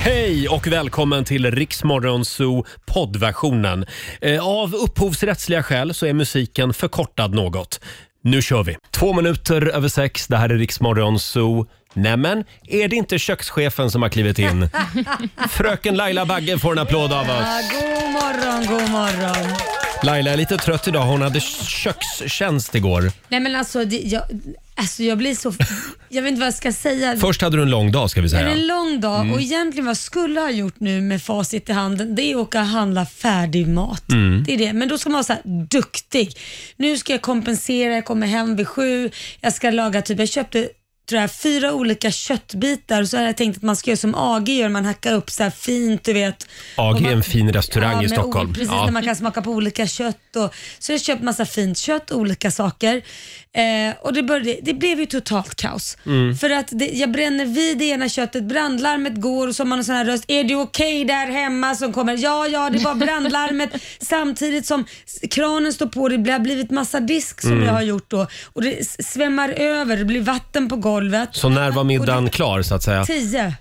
Hej och välkommen till Riksmorgon Zoo poddversionen. Eh, Av upphovsrättsliga skäl så är musiken förkortad något. Nu kör vi! Två minuter över sex, det här är Riksmorgon Zoo. Nämen, är det inte kökschefen som har klivit in? Fröken Laila Bagge får en applåd av oss. Ja, Ah, god morgon, god morgon. Laila är lite trött idag, hon hade kökstjänst igår. Nej men alltså, det, jag, alltså jag blir så... Jag vet inte vad jag ska säga. Först hade du en lång dag ska vi det är säga. en lång dag Mm. och egentligen vad jag skulle ha gjort nu med facit i handen, det är att åka och handla färdig mat. Mm. Det är det. Men då ska man vara så här duktig. Nu ska jag kompensera, jag kommer hem vid sju, jag ska laga typ, jag köpte tror jag, fyra olika köttbitar och så hade jag tänkt att man ska göra som AG gör, man hackar upp så här fint, du vet. AG är Och en man- fin restaurang i med Stockholm. ol- Precis, Ja. där man kan smaka på olika kött. Och, så jag köpte massa fint kött, olika saker. Eh, och det, började, det blev ju totalt kaos. För att det, jag bränner vid det ena köttet, brandlarmet går och så har man en sån här röst. Är det okej där hemma? Som kommer. Ja, ja, det var brandlarmet. Samtidigt som s- kranen står på, det har blivit massa disk som jag har gjort då. Och det s- svämmar över, det blir vatten på golvet. Så när var middagen klar så att säga? Tio.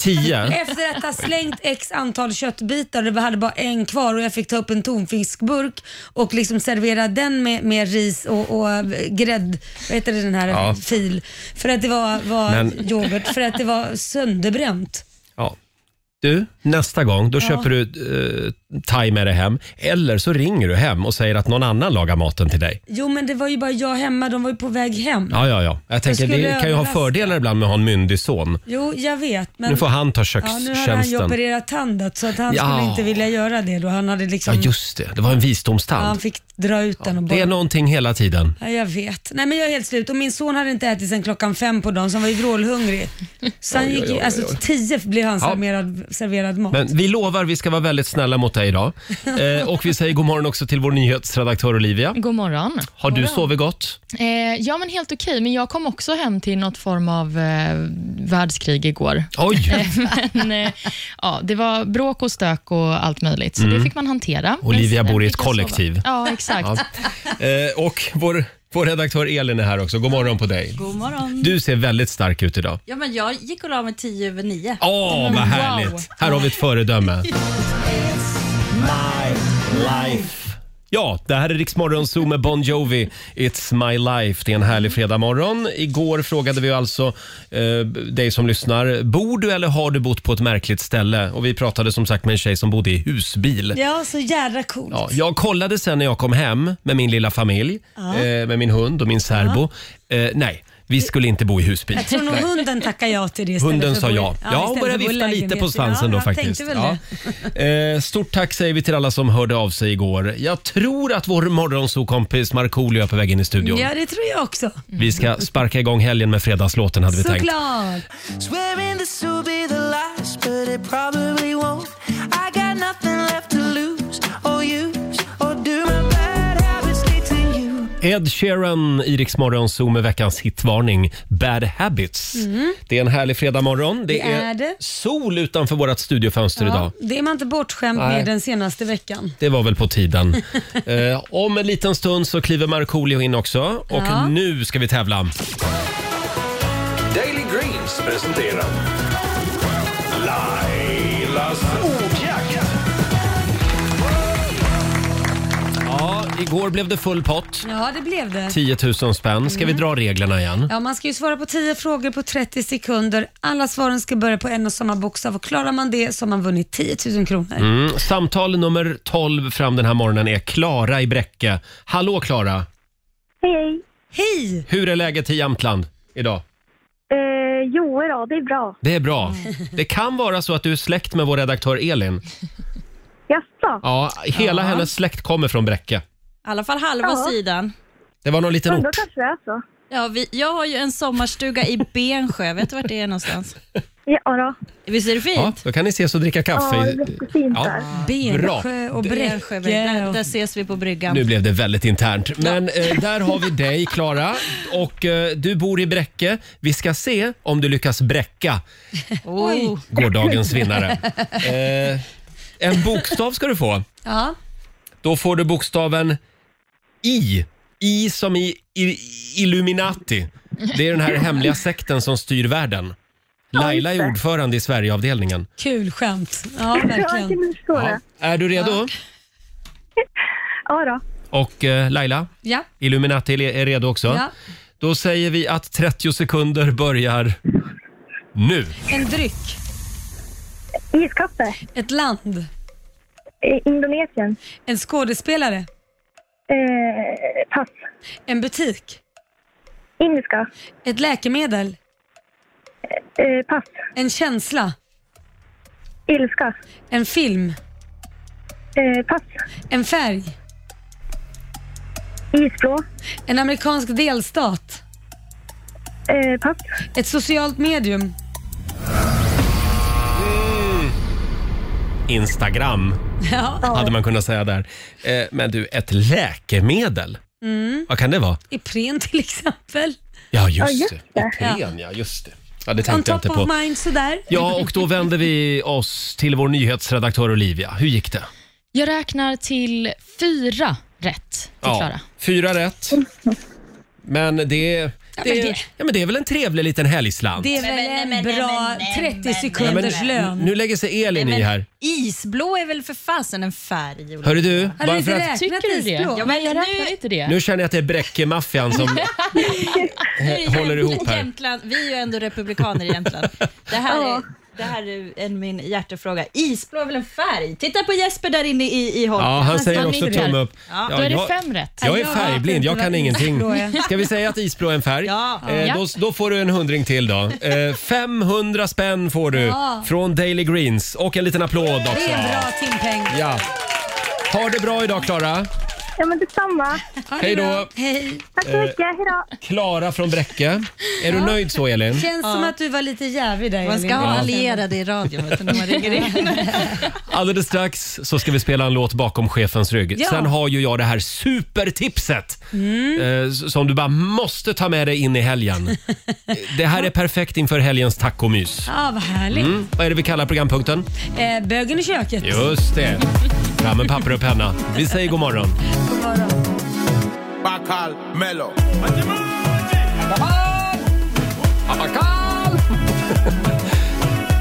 Tio? Efter att ha slängt x antal köttbitar och det hade bara en kvar och jag fick ta upp en tonfiskburk och liksom servera den med, med ris och, och grädd, vad heter det, den här Ja. fil. För att det var, var Men- yoghurt, för att det var sönderbränt. Ja. Du, nästa gång då köper du eh, thai med dig hem. Eller så ringer du hem och säger att någon annan lagar maten till dig. Jo men det var ju bara jag hemma, de var ju på väg hem. Ja, ja, ja. Jag tänker, skulle det kan ju ha överraska. fördelar ibland med att ha en myndig son. Jo jag vet men Nu får han ta ja, nu hade han ju kökstjänsten. opererat tanden så att han Ja. skulle inte vilja göra det då. Han hade liksom, Ja, just det. Det var en ja, han visdomstand. fick dra ut den och bara Det är någonting hela tiden. Ja, jag vet. Nej, men jag är helt slut. Och min son hade inte ätit sedan klockan fem på dagen, så han var ju vrålhungrig. Så han gick ju, alltså tio blev han serverad, serverad mat. Men vi lovar vi ska vara väldigt snälla mot dig idag. Eh, och vi säger god morgon också till vår nyhetsredaktör Olivia. God morgon. Har du sovit gott? Eh, ja, men helt okej. Men jag kom också hem till något form av eh, världskrig igår. Oj! Men, eh, ja, det var bråk och stök och allt möjligt, så det fick man hantera. Mm. Olivia Men sen bor i ett fick jag sova. kollektiv. Ja, exakt. Eh, och vår, vår redaktör Elin är här också. God morgon på dig. God morgon. Du ser väldigt stark ut idag. Ja, men jag gick och la mig tio över nio. Åh, vad härligt! Här har vi ett föredöme. Ja, det här är Riksmorgon Zoo med Bon Jovi. It's my life. Det är en härlig fredagmorgon. Igår frågade vi alltså eh, dig som lyssnar. Bor du eller har du bott på ett märkligt ställe? Och vi pratade som sagt med en tjej som bodde i husbil. Ja, så jävla coolt. Ja, jag kollade sen när jag kom hem med min lilla familj, eh, med min hund och min serbo. Eh, nej, vi skulle inte bo i husbil. Jag tror nog hunden tackar ja till det istället Hunden för sa bo- ja. Ja, hon istället började för bo i vifta lite lägenhet. på svansen ja, då jag faktiskt. Tänkte väl Ja. det. Eh, stort tack säger vi till alla som hörde av sig igår. Jag tror att vår morgonsokompis Markoolio är på väg in i studion. Ja, det tror jag också. Vi ska sparka igång helgen med fredagslåten hade vi tänkt. Såklart. Swearing this will be the last, but it probably won't. I got nothing left to lose or use or do. My bad habits lead to you. Ed Sheeran, Iriks morgonso med veckans hitvarning Bad Habits. Det är en härlig fredagmorgon. Det, Mm. Det är det. sol utanför vårt studiofönster idag. Ja, det är man inte bortskämd Nej. med den senaste veckan. Det var väl på tiden. eh, om en liten stund så kliver Markoolio in också och Ja. nu ska vi tävla. Daily Greens presenterar Lailas ordjakt. Ja, igår blev det full pott. Ja, det blev det. 10 000 spänn. Ska vi dra reglerna igen? Ja, man ska ju svara på 10 frågor på 30 sekunder. Alla svaren ska börja på en och samma bokstav och klarar man det så har man vunnit 10 000 kronor. Mm. Samtal nummer 12 fram den här morgonen är Klara i Bräcke. Hallå Klara! Hej! Hej! Hur är läget i Jämtland idag? Eh, jo då, det är bra. Mm. Det är bra. Det kan vara så att du är släkt med vår redaktör Elin. Jaså? Ja, hela hennes släkt kommer från Bräcke. I alla fall halva Ja. sidan. Det var någon liten Ja, då ort. kanske det är så. Ja, vi, jag har ju en sommarstuga i Bensjö. Vet du vart det är någonstans? Ja då. Visst är det Ja, fint? då kan ni ses och dricka Ja, kaffe. jättefint Ja. där. Bensjö och Bensjö, där, där Bräcke. ses vi på bryggan. Nu blev det väldigt internt. Men eh, där har vi dig, Klara. Och eh, du bor i Bräcke. Vi ska se om du lyckas bräcka Oh. gårdagens vinnare. Eh, en bokstav ska du få. Ja. Då får du bokstaven I. I som i, i Illuminati. Det är den här hemliga sekten som styr världen. Laila just är det. ordförande i Sverigeavdelningen. Kul skämt. Ja, Ja, jag verkligen. kan förstå det. Är du redo? Ja, då. Och eh, Laila, Ja. Illuminati är- är redo också. ja. Då säger vi att 30 sekunder börjar nu. En dryck. Iskaffe. Ett land. Eh, Indonesien. En skådespelare. Eh, pass. En butik. Indiska. Ett läkemedel. Eh, pass. En känsla. Ilska. En film. Eh, pass. En färg. Isblå. En amerikansk delstat. Eh, pass. Ett socialt medium. Instagram Ja, hade man kunnat säga där. Eh, men du, ett läkemedel? Vad kan det vara? Ipren till exempel. Ja, just, just det. det. Ipren, ja. Just det. Ja, det On tänkte jag top inte of på. mind sådär. Ja, och då vänder vi oss till vår nyhetsredaktör Olivia. Hur gick det? Jag räknar till fyra rätt till Klara. fyra rätt. Men det, det, det- ja, men det är väl en trevlig liten helgslant? Det är väl en bra 30 Ja, men sekunders lön. Nu lägger sig Elin i här. Isblå är väl för fasen en färg? Olof? Hörru du, Hade bara du för inte att, räknat Tycker du det? isblå? Ja, men jag Nu- räknar inte det. nu känner jag att det är Bräckemaffian som eh, håller ihop här. Jämtland, vi är ju ändå republikaner i Jämtland. Det här är, det här är en, min hjärtefråga. Isblå är väl en färg? Titta på Jesper där inne i, i håll. Ja, han säger han också nickar. tumme upp. Ja. Då är det jag- fem rätt. Jag är Jag vet färgblind, inte jag vad kan ingenting. isblå är. Ska vi säga att isblå är en färg? Ja. Eh, Ja. då, då får du en hundring till då. Eh, 500 spänn får du från Daily Greens och en liten applåd också. Det är en bra timpeng. Ja. Ha det bra idag Klara. Ja, men detsamma. Ha det Hej då. bra. Hej. Tack så mycket. Hej då. Klara från Bräcke. Är du nöjd så Elin? Känns som att du var lite jävig där Man Elin. ska ha allierade i radion vet du, när man ringer in. Alldeles strax så ska vi spela en låt bakom chefens rygg. Ja. Mm. Sen har ju jag det här supertipset eh, s- som du bara måste ta med dig in i helgen. det här är perfekt inför helgens tacomys. Ja, vad härligt. Mm. Vad är det vi kallar programpunkten? Eh, bögen i köket. Just det. Fram med papper och penna. Vi säger god morgon. God morgon. Bacal Melo.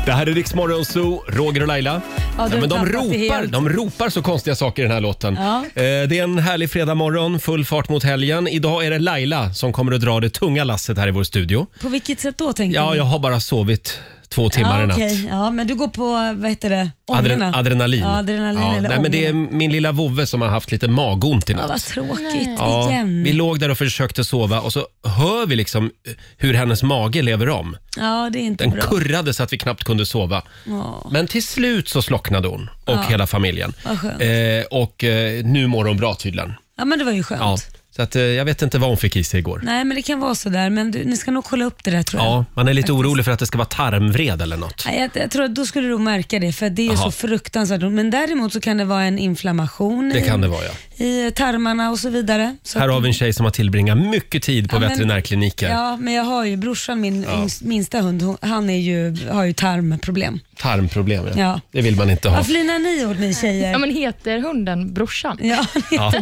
Det här är Riksmorgon Zoo, Roger och Laila. Ja, Nej, men de, tappar vi ropar, helt. de ropar så konstiga saker i den här låten. Ja. Eh, Det är en härlig fredagmorgon, full fart mot helgen. Idag är det Laila som kommer att dra det tunga lasset här i vår studio. På vilket sätt då tänker Ja, du? jag har bara sovit två timmar i Mm. ja, natt. okej. Ja, men du går på, vad heter det? Adren- Ångorna? adrenalin. Ja, adrenalin Ja, eller nej, men det är ångorna. min lilla vovve som har haft lite magont i Ja, vad natt. tråkigt. Ja, Igen. vi låg där och försökte sova och så hör vi liksom hur hennes mage lever om. Ja, det är inte Den bra. kurrade så att vi knappt kunde sova. Ja. Men till slut så slocknade hon och hela familjen. Vad skönt. Eh, och eh, nu mår hon bra tydligen. Ja, men det var ju skönt. Ja. Så att, eh, jag vet inte vad hon fick i sig igår. Nej, men det kan vara sådär. Men du, ni ska nog kolla upp det där tror jag. Ja, man är lite orolig för att det ska vara tarmvred eller något. Nej, jag, jag tror att då skulle du märka det, för det är ju Aha. så fruktansvärt ont. Men däremot så kan det vara en inflammation Det i, kan det vara ja. i eh, tarmarna och så vidare. Så Här har vi en tjej som har tillbringat mycket tid på Ja, men- veterinärkliniker. Ja, men jag har ju brorsan, min yngst- minsta hund, hon- han är ju, har ju tarmproblem. Tarmproblem ja. Ja. Det vill man inte ha. Vad flinar ni åt ni tjejer? Ja, men heter hunden brorsan? Ja, Ja,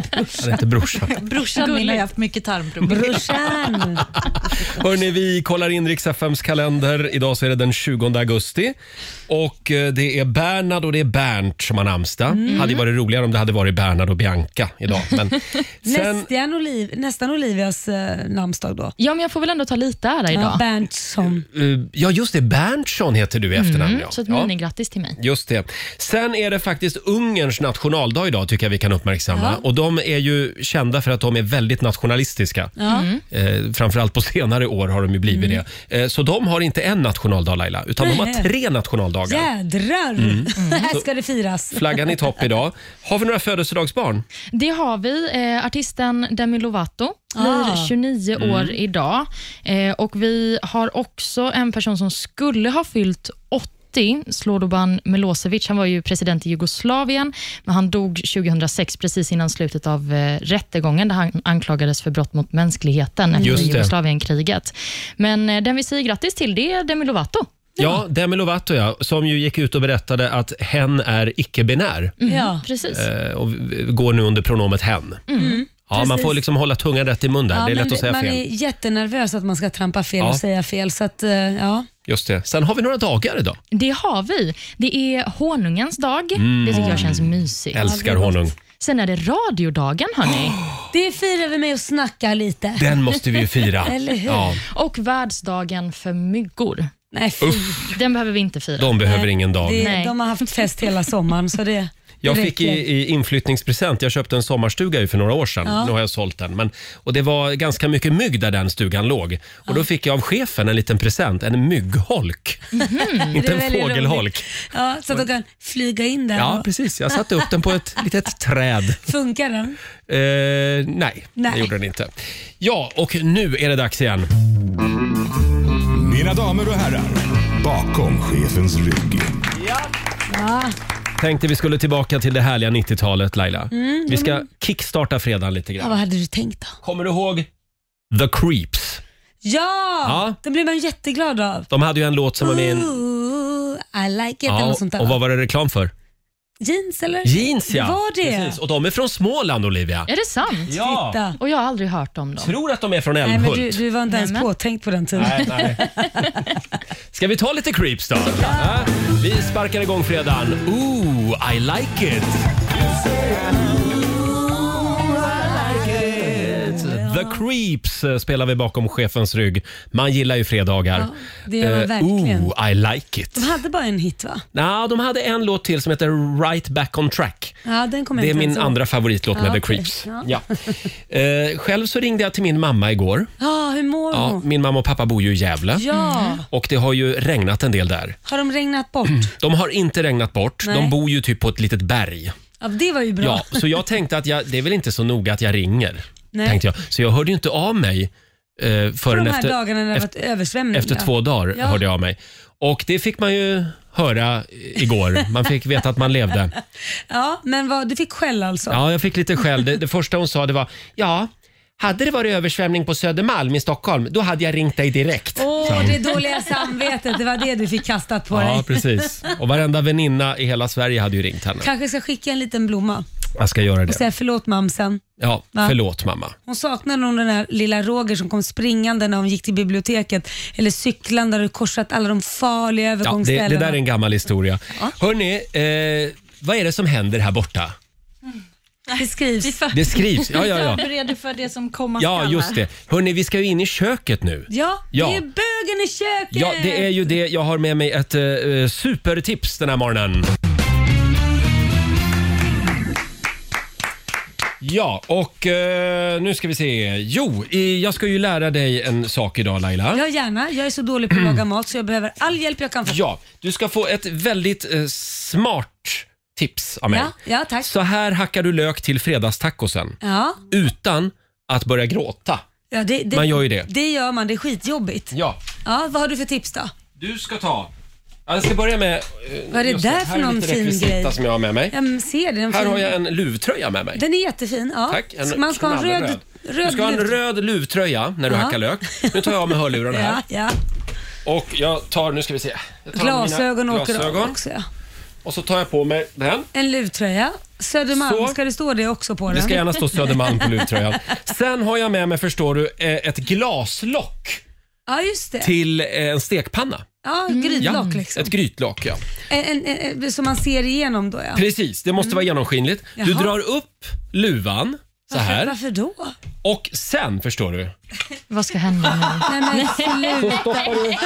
han heter brorsan. Brorsan min har ju haft mycket tarmproblem. brorsan. Hörrni, vi kollar in riks FMs kalender. Idag så är det den 20 augusti. Och eh, det är Bernhard och det är Bernt som har namnsdag. Hade ju varit roligare om det hade varit Bernhard och Bianca idag. Men sen, Nästan, Oliv, nästan Olivias eh, namnsdag då. Ja, men jag får väl ändå ta lite ära idag. Ja, Berntsson. eh, ja, just det. Berntsson heter du i efternamn. ja. Mm, Så ett ja. minigrattis till mig. Just det. Sen är det faktiskt Ungerns nationaldag idag tycker jag vi kan uppmärksamma. Och de är ju kända för att de är väldigt nationalistiska. Ja. Mm. Eh, framförallt på senare år har de ju blivit det. Eh, så de har inte en nationaldag Laila, utan de har Nej. tre nationaldagar. Jädrar! Mm. Här ska det firas. Flaggan i topp idag. Har vi några födelsedagsbarn? Det har vi. Eh, artisten Demi Lovato blir Ah. 29 Mm. år idag. Eh, och Vi har också en person som skulle ha fyllt 80, Slobodan Milosevic. Han var ju president i Jugoslavien, men han dog 2006 precis innan slutet av eh, rättegången där han anklagades för brott mot mänskligheten efter Just det. Jugoslavienkriget. Men eh, den vi säger grattis till, det är Demi Lovato. Ja, Demi Lovato ja, som ju gick ut och berättade att hen är icke-binär Mm. Ja. Precis. eh, och v- går nu under pronomet hen. Ja, man Mm. precis. får liksom hålla tungan rätt i mun där. Ja, det är men lätt att säga man fel. är jättenervös att man ska trampa fel Ja. och säga fel. Så att, eh, ja. Just det. Sen har vi några dagar idag. Det har vi. Det är honungens dag. Det tycker jag känns mysigt. Mm. Älskar honung. Sen är det radiodagen, hörni. Det firar vi med att snacka lite. Den måste vi ju fira. Eller hur? Ja, Och världsdagen för myggor. Nej, fy. Den behöver vi inte fira. de behöver ingen dag. Det, Nej. de har haft fest hela sommaren så det Jag det fick i, räcker. i inflyttningspresent, jag köpte en sommarstuga ju för några år sedan. Nu har jag sålt den. Men, och det var ganska mycket mygg där den stugan låg. Och då fick jag av chefen en liten present, en myggholk. Inte Mhm, Det är en väldigt fågelholk. roligt. Ja, så att de kan flyga in där. Ja, och precis. Jag satte upp den på ett litet träd. Funkar den? Eh, nej, det Nej. gjorde den inte. Ja, och nu är det dags igen. Mina damer och herrar, bakom chefens rygg. Tänkte vi skulle tillbaka till det härliga 90-talet, Laila. Mm. Vi ska kickstarta fredagen lite Ja, grann. vad hade du tänkt då? Kommer du ihåg The Creeps? Ja! Ja. Det blir man jätteglad av. De hade ju en låt som var med i en... Ooh, I like it eller Ja, något sånt där. och vad var det reklam för? Jeans eller? Jeans ja! Var det? Precis. Och de är från Småland, Olivia. Är det sant? Ja! Titta. Och jag har aldrig hört om dem. Tror att de är från Nej, men Älmhult. du, du var inte ens Nämen. påtänkt på den tiden. Nej, nej. Ska vi ta lite Creeps då? Ja. Vi sparkar igång fredagen. Ooh, I like it! The Creeps eh, spelar vi bakom chefens rygg. Man gillar ju fredagar. Ja, det gör man Eh, verkligen. Ooh, I like it. De hade bara en hit va? Nå, de hade en låt till som heter Right Back On Track. Ja, den kommer Det är jag inte min ens ihåg. andra favoritlåt med Ja, The okej. Creeps. Ja. Eh, själv så ringde jag till min mamma igår. Ja, hur mår Ja, hon? min mamma och pappa bor ju i Gävle. Ja, Och det har ju regnat en del där. har de regnat bort? De har inte regnat bort. Nej. De bor ju typ på ett litet berg. Ja, det var ju bra. Ja, så jag tänkte att jag, det är väl inte så noga att jag ringer. Nej. Tänkte jag. Så jag hörde ju inte av mig eh, På förrän de här efter, dagarna när det har efter, varit översvämning. efter ja. två dagar. Ja. hörde jag av mig. Och det fick man ju höra igår. Man fick veta att man levde. Ja, men vad, du fick skäll alltså? Ja, jag fick lite skäll. Det, det första hon sa det var ja, hade det varit översvämning på Södermalm i Stockholm, då hade jag ringt dig direkt. Åh, sa hon. det dåliga samvetet. Det var det du fick kastat på Ja, dig. precis. Och varenda väninna i hela Sverige hade ju ringt henne. Kanske ska skicka en liten blomma Jag ska göra och det. säga förlåt mamsen. Ja, Va? förlåt mamma. Hon saknar nog den här lilla Roger som kom springande när hon gick till biblioteket eller cyklande och korsat alla de farliga Ja, det, övergångsställena. det där är en gammal historia. Hörni, eh, vad är det som händer här borta? Det skrivs. Det skrivs. Ja, ja, ja. Förbered dig för det som komma Ja, skall just här. det. Hörni, vi ska ju in i köket nu. Ja, Ja. det är bögen i köket! Ja, det är ju det. Jag har med mig ett eh, supertips den här morgonen. Ja, och eh, nu ska vi se. Jo, i, jag ska ju lära dig en sak idag Laila. Ja, gärna. Jag är så dålig på att laga mat så jag behöver all hjälp jag kan få. Ja, du ska få ett väldigt eh, smart tips av mig. Ja, ja, tack. Så här hackar du lök till fredagstacosen Ja, utan att börja gråta. ja det, det, Man gör ju det. Det gör man. Det är skitjobbigt. Ja, Ja, vad har du för tips då? du ska ta... Ja, Jag ska börja med... eh, Vad är det just där här för är någon lite fin rekvisita grej? som jag har med mig. Jag ser det. Den, Här fin- har jag en luvtröja med mig. den är jättefin. Ja. Tack. En man ska ha en röd... knallröd. Du röd ska ha en luk. röd luvtröja när du Ja. hackar lök. Nu tar jag av mig hörlurarna här. Ja, ja. Och jag tar, nu ska vi se. Jag tar mina Glasögon åker glasögon. också. Ja. Och så tar jag på mig den. En luvtröja. Södermalm, Så. ska det stå det också på den? Det ska gärna stå Södermalm på luvtröjan. Sen har jag med mig, förstår du, eh, ett glaslock Ja, just det. till eh, en stekpanna. Ja, grytlock liksom. Ett grytlock, ja. En, en, en, en, som man ser igenom då ja. Precis, det måste vara genomskinligt. Du Mm. Jaha. drar upp luvan så här Varför då? och sen, förstår du, Vad ska hända Nej, nu? men, sluta. stoppar du,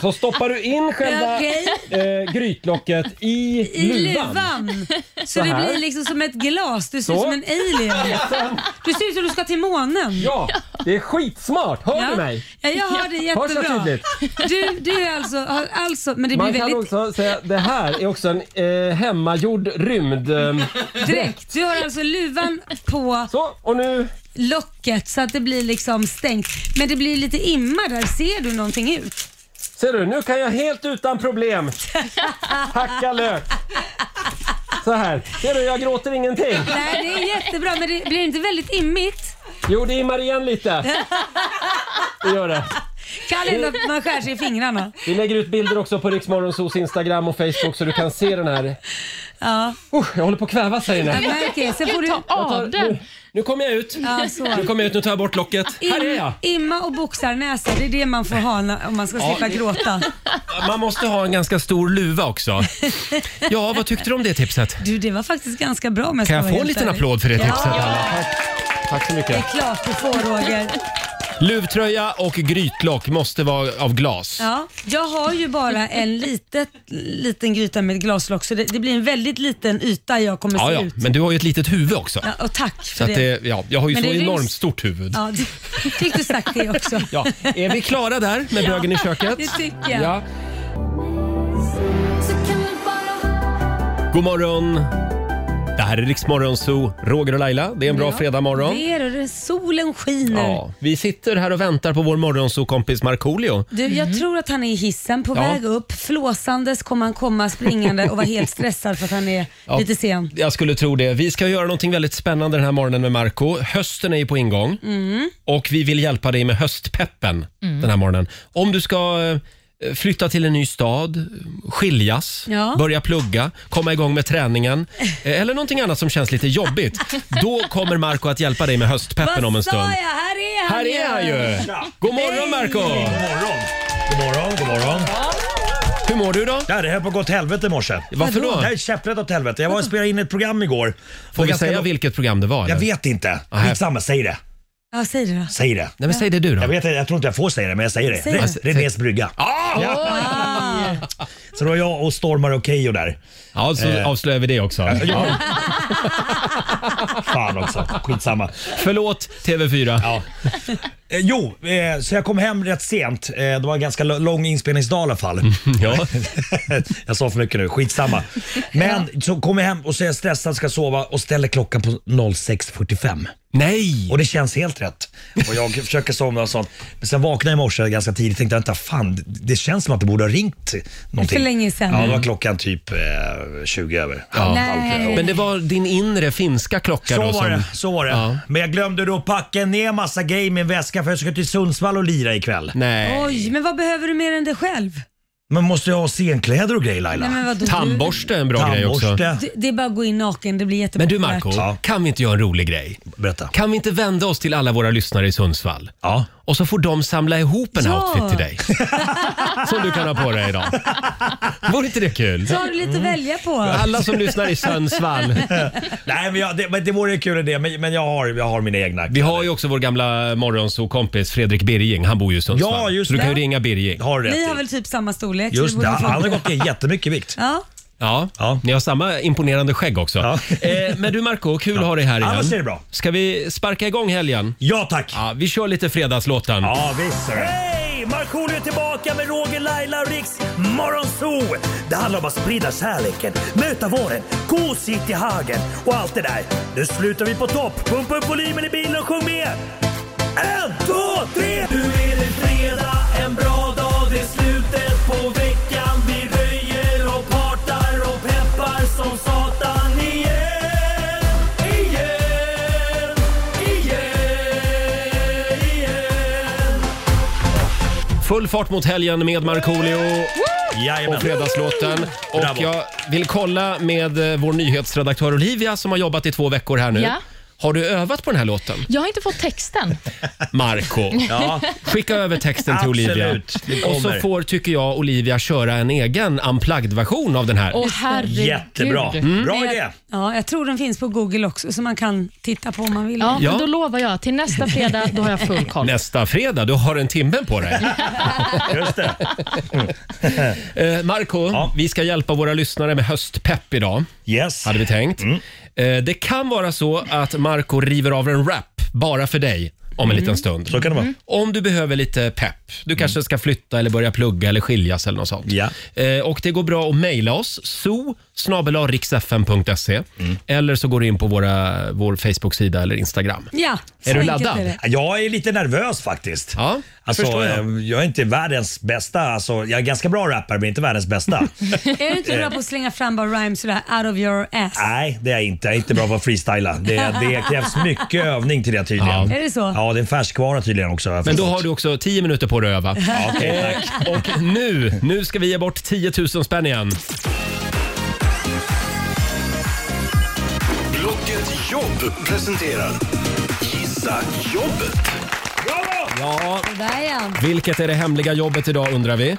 så stoppar du in själva Okej. eh, grytlocket i, I luvan. luvan. Så, det här. blir liksom som ett glas. Du ser ut Så. som en alien. Du ser ut som du ska till månen. Ja, det är skitsmart. Hör Ja. du mig? Ja, jag hör dig Hörs jag jättebra. tydligt? Du, du är alltså, har alltså, men det Man blir kan väldigt också säga att det här är också en eh, hemmagjord rymd... ehm, direkt. Du har alltså luvan på så, och nu... locket så att det blir liksom stängt. Men det blir lite imma där. Ser du någonting ut? Ser du, nu kan jag helt utan problem hacka lök. Så här. Ser du, jag gråter ingenting. Nej, det är jättebra, men det blir inte väldigt immigt? Jo, det immar igen lite. Det gör det. Kalle ändå att man skär sig i fingrarna. Vi lägger ut bilder också på Riksmorgonsos Instagram och Facebook så du kan se den här Ja, Usch, jag håller på att kväva sig jag nu. märker det. Sen får du... Ta av den. Nu, nu kommer jag ut. Ja, så. Nu kommer jag ut, nu tar jag bort locket. Här är jag! Im, imma och boxarnäsa, det är det man får ha när, om man ska Ja. slippa gråta. Man måste ha en ganska stor luva också. Ja, vad tyckte du om det tipset? Du, det var faktiskt ganska bra om jag Kan jag ska vara få en helt liten ärlig. applåd för det tipset? Ja. Anna? Tack. Tack så Det mycket. är klart du får Roger. Luvtröja och grytlock måste vara av glas. Ja, jag har ju bara en litet, liten gryta med glaslock så det, det blir en väldigt liten yta jag kommer Ja, se ja, ut. men du har ju ett litet huvud också. Ja, och tack för Så att det. det, ja, jag har ju Men så det ryms- enormt stort huvud. Ja, det. Fick du sagt det också? Ja, är vi klara där med bögen i köket? Det tycker jag. Ja. God morgon! Det här är Riksmorgon Zoo, Roger och Laila. Det är en bra Ja. fredagmorgon. Det är det, det, är- solen skiner. Ja, vi sitter här och väntar på vår morgonsokompis Markoolio. Du, jag tror att han är i hissen på Ja. väg upp. Flåsandes kommer han komma springande och vara helt stressad för att han är Ja. lite sen. Jag skulle tro det. Vi ska göra någonting väldigt spännande den här morgonen med Marco. Hösten är ju på ingång Mm. och vi vill hjälpa dig med höstpeppen den här morgonen. Om du ska eh, flytta till en ny stad, skiljas, Ja. börja plugga, komma igång med träningen eh, eller någonting annat som känns lite jobbigt. Då kommer Marco att hjälpa dig med höstpeppen om en Vad sa jag? stund. Här är han Här är han ju! God morgon Marco! morgon. God morgon, god morgon. Hur mår du då? Ja, det höll på att gå åt helvete i morse. Varför då? Det här är käpprätt åt helvete. Jag var och spelade in ett program igår. Får vi Ganska säga lång- vilket program det var? Jag eller? vet inte. Mm. Nej. Skitsamma, säg det. Ja, säg det då. Säg det. Nej, men säg det du då. Jag, vet, inte, jag tror inte jag får säga det, men jag säger det. Säg det. Ah, det. Renés brygga. Ja. Så då var jag och Stormare och Keyyo där. Ja, så Eh. avslöjar vi det också. Ja. Fan också, skitsamma. Förlåt TV4. Ja. Eh, jo, eh, så jag kom hem rätt sent. Eh, det var en ganska l- lång inspelningsdag i alla fall. Ja. jag sa för mycket nu, skitsamma. Men så kommer jag hem och så är jag stressad, ska sova och ställer klockan på 06.45. Nej! Och det känns helt rätt. Och jag försöker somna och sånt. Men sen vaknade jag i morse ganska tidigt och tänkte vänta, fan det- det känns som att det borde ha ringt någonting. För länge sedan. Ja, då var klockan typ eh, 20 över. Ja. Nej. Men det var din inre finska klocka Så då var som... det, så var det. Ja. Men jag glömde då packa ner massa grejer i min väska för jag ska till Sundsvall och lira ikväll. Nej. Oj, men vad behöver du mer än dig själv? Men måste jag ha scenkläder och grejer Laila? Nej, men vadå? Tandborste är en bra grej också. Tandborste. Det, det är bara att gå in naken, det blir jättebra. Men du Marco, Ja. kan vi inte göra en rolig grej? Berätta. Kan vi inte vända oss till alla våra lyssnare i Sundsvall? Ja. Och så får de samla ihop en Ja. outfit till dig. Som du kan ha på dig idag. Vore inte det kul? Så har du Mm. lite att välja på. Alla som lyssnar i Sundsvall. Nej, men, jag, det, men det vore en kul idé, men, men jag, har, jag har mina egna. Vi har ju också vår gamla morgonsokompis Fredrik Birging. Han bor ju i Sundsvall. Ja, just så du kan ju det. ringa Birging. Har rätt Ni har i. väl typ samma storlek? så Just borde det, funka. han har gått ner jättemycket vikt. Ja. Ja, Ja. ni har samma imponerande skägg också. Ja. Eh, men du Marco, kul att ha dig här igen. Annars är det bra. Ska vi sparka igång helgen? Ja tack! Ja, vi kör lite fredagslåten. Ja visst Mm. Hej! Markoolio är tillbaka med Roger, Laila och Riks Morgonzoo! Det handlar om att sprida kärleken, möta våren, gosigt i hagen och allt det där. Nu slutar vi på topp! Pumpa upp volymen i bilen och sjung med! En, två, tre! Nu är det fredag, en bra dag, det är slutet på veckan. Vi röjer och partar och peppar som satan igen, igen, igen, igen. Full fart mot helgen med Markoolio och Jajamän. fredagslåten. Och Bravo. jag vill kolla med eh, vår nyhetsredaktör Olivia som har jobbat i två veckor här nu. Ja. Har du övat på den här låten? Jag har inte fått texten. Marco Ja, skicka över texten till Absolut, Olivia. det Och så kommer. får, tycker jag, Olivia köra en egen unplugged-version av den här. Åh herregud. jättebra. Mm. Bra Mm. idé. ja, jag tror den finns på Google också så man kan titta på om man vill. Ja, men Ja. Då lovar jag, till nästa fredag då har jag full koll. Nästa fredag, du har en timme på dig. Just det. Eh, Marco, Ja. vi ska hjälpa våra lyssnare med höstpepp idag, Yes. hade vi tänkt. Mm. Eh, det kan vara så att Marco river av en rap bara för dig om en liten stund. Mm. Så kan det vara. Om du behöver lite pepp, du kanske ska flytta eller börja plugga eller skiljas eller något sånt. Ja. Eh, och det går bra att mejla oss, so Mm. eller så går du in på våra, vår Facebook-sida eller Instagram. Ja, så Är du enkelt laddad? är det. Jag är lite nervös faktiskt. Ja, Alltså, förstår jag. jag. jag är inte världens bästa. Alltså, jag är ganska bra rappare, men inte världens bästa. Är du inte bra på att slänga fram bara rhymes sådär out of your ass? Ah. Nej, det är jag inte. Jag är inte bra på att freestyla. Det, det krävs mycket övning till det tydligen. Ja. Är det så? Ja, det är en färskvara tydligen också. har jag Men då förstått. har du också 10 minuter på dig att öva. Ja, okej, tack. Och nu, nu ska vi ge bort 10 000 spänn igen. jobb presenterar Gissa jobbet. Ja, Där är han. vilket är det hemliga jobbet idag undrar vi.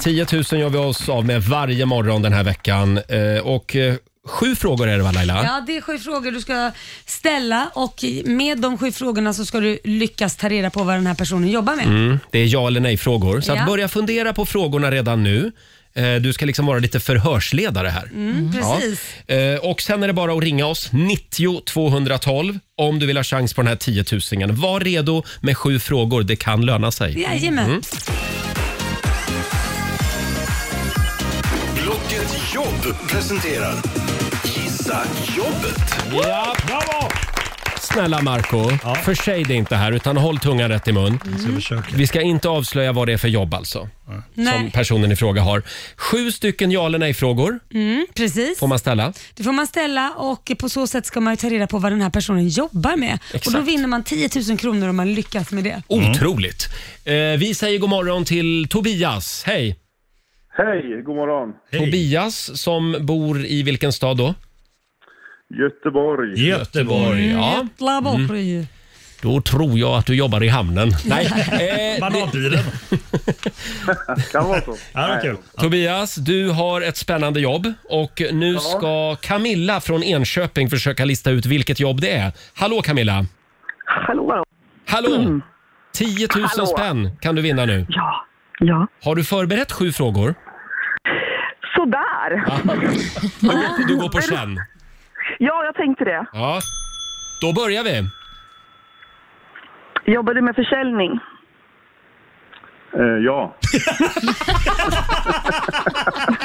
10 000 gör vi oss av med varje morgon den här veckan. Eh, Och eh, sju frågor är det va Laila? Ja, det är sju frågor du ska ställa och med de sju frågorna så ska du lyckas ta reda på vad den här personen jobbar med. Mm, det är ja eller nej-frågor. Så Ja. att börja fundera på frågorna redan nu. Eh, Du ska liksom vara lite förhörsledare här. Mm, precis. Ja. Eh, Och sen är det bara att ringa oss, 90 212, om du vill ha chans på den här 10 000. Var redo med sju frågor, det kan löna sig. Jajamän. Mm. Blocket jobb presenterar Gissa jobbet. Ja, bravo! Snälla Marco, försäg dig inte här utan håll tungan rätt i mun. Mm. Vi ska inte avslöja vad det är för jobb alltså, som Nej. personen i fråga har. Sju stycken ja eller nej-frågor Mm, precis. får man ställa. Det får man ställa och på så sätt ska man ju ta reda på vad den här personen jobbar med. Och då Exakt. vinner man 10 000 kronor om man lyckas med det. Otroligt. Eh, vi säger god morgon till Tobias. Hej! Hej, god morgon. Tobias som bor i vilken stad då? Göteborg. Göteborg, ja. Jävla bra Mm. pryl. Då tror jag att du jobbar i hamnen. Eh, Nej. Bananbilen. kan vara så. Ja, det var kul. Tobias, du har ett spännande jobb och nu Ja. ska Camilla från Enköping försöka lista ut vilket jobb det är. Hallå Camilla! Hallå! Mm. Hallå! 10 000 Hallå. spänn kan du vinna nu. Ja. ja. Har du förberett sju frågor? Sådär! Du går, du går på känn. Ja, jag tänkte det. Ja. Då börjar vi. Jobbar du med försäljning? Eh, ja.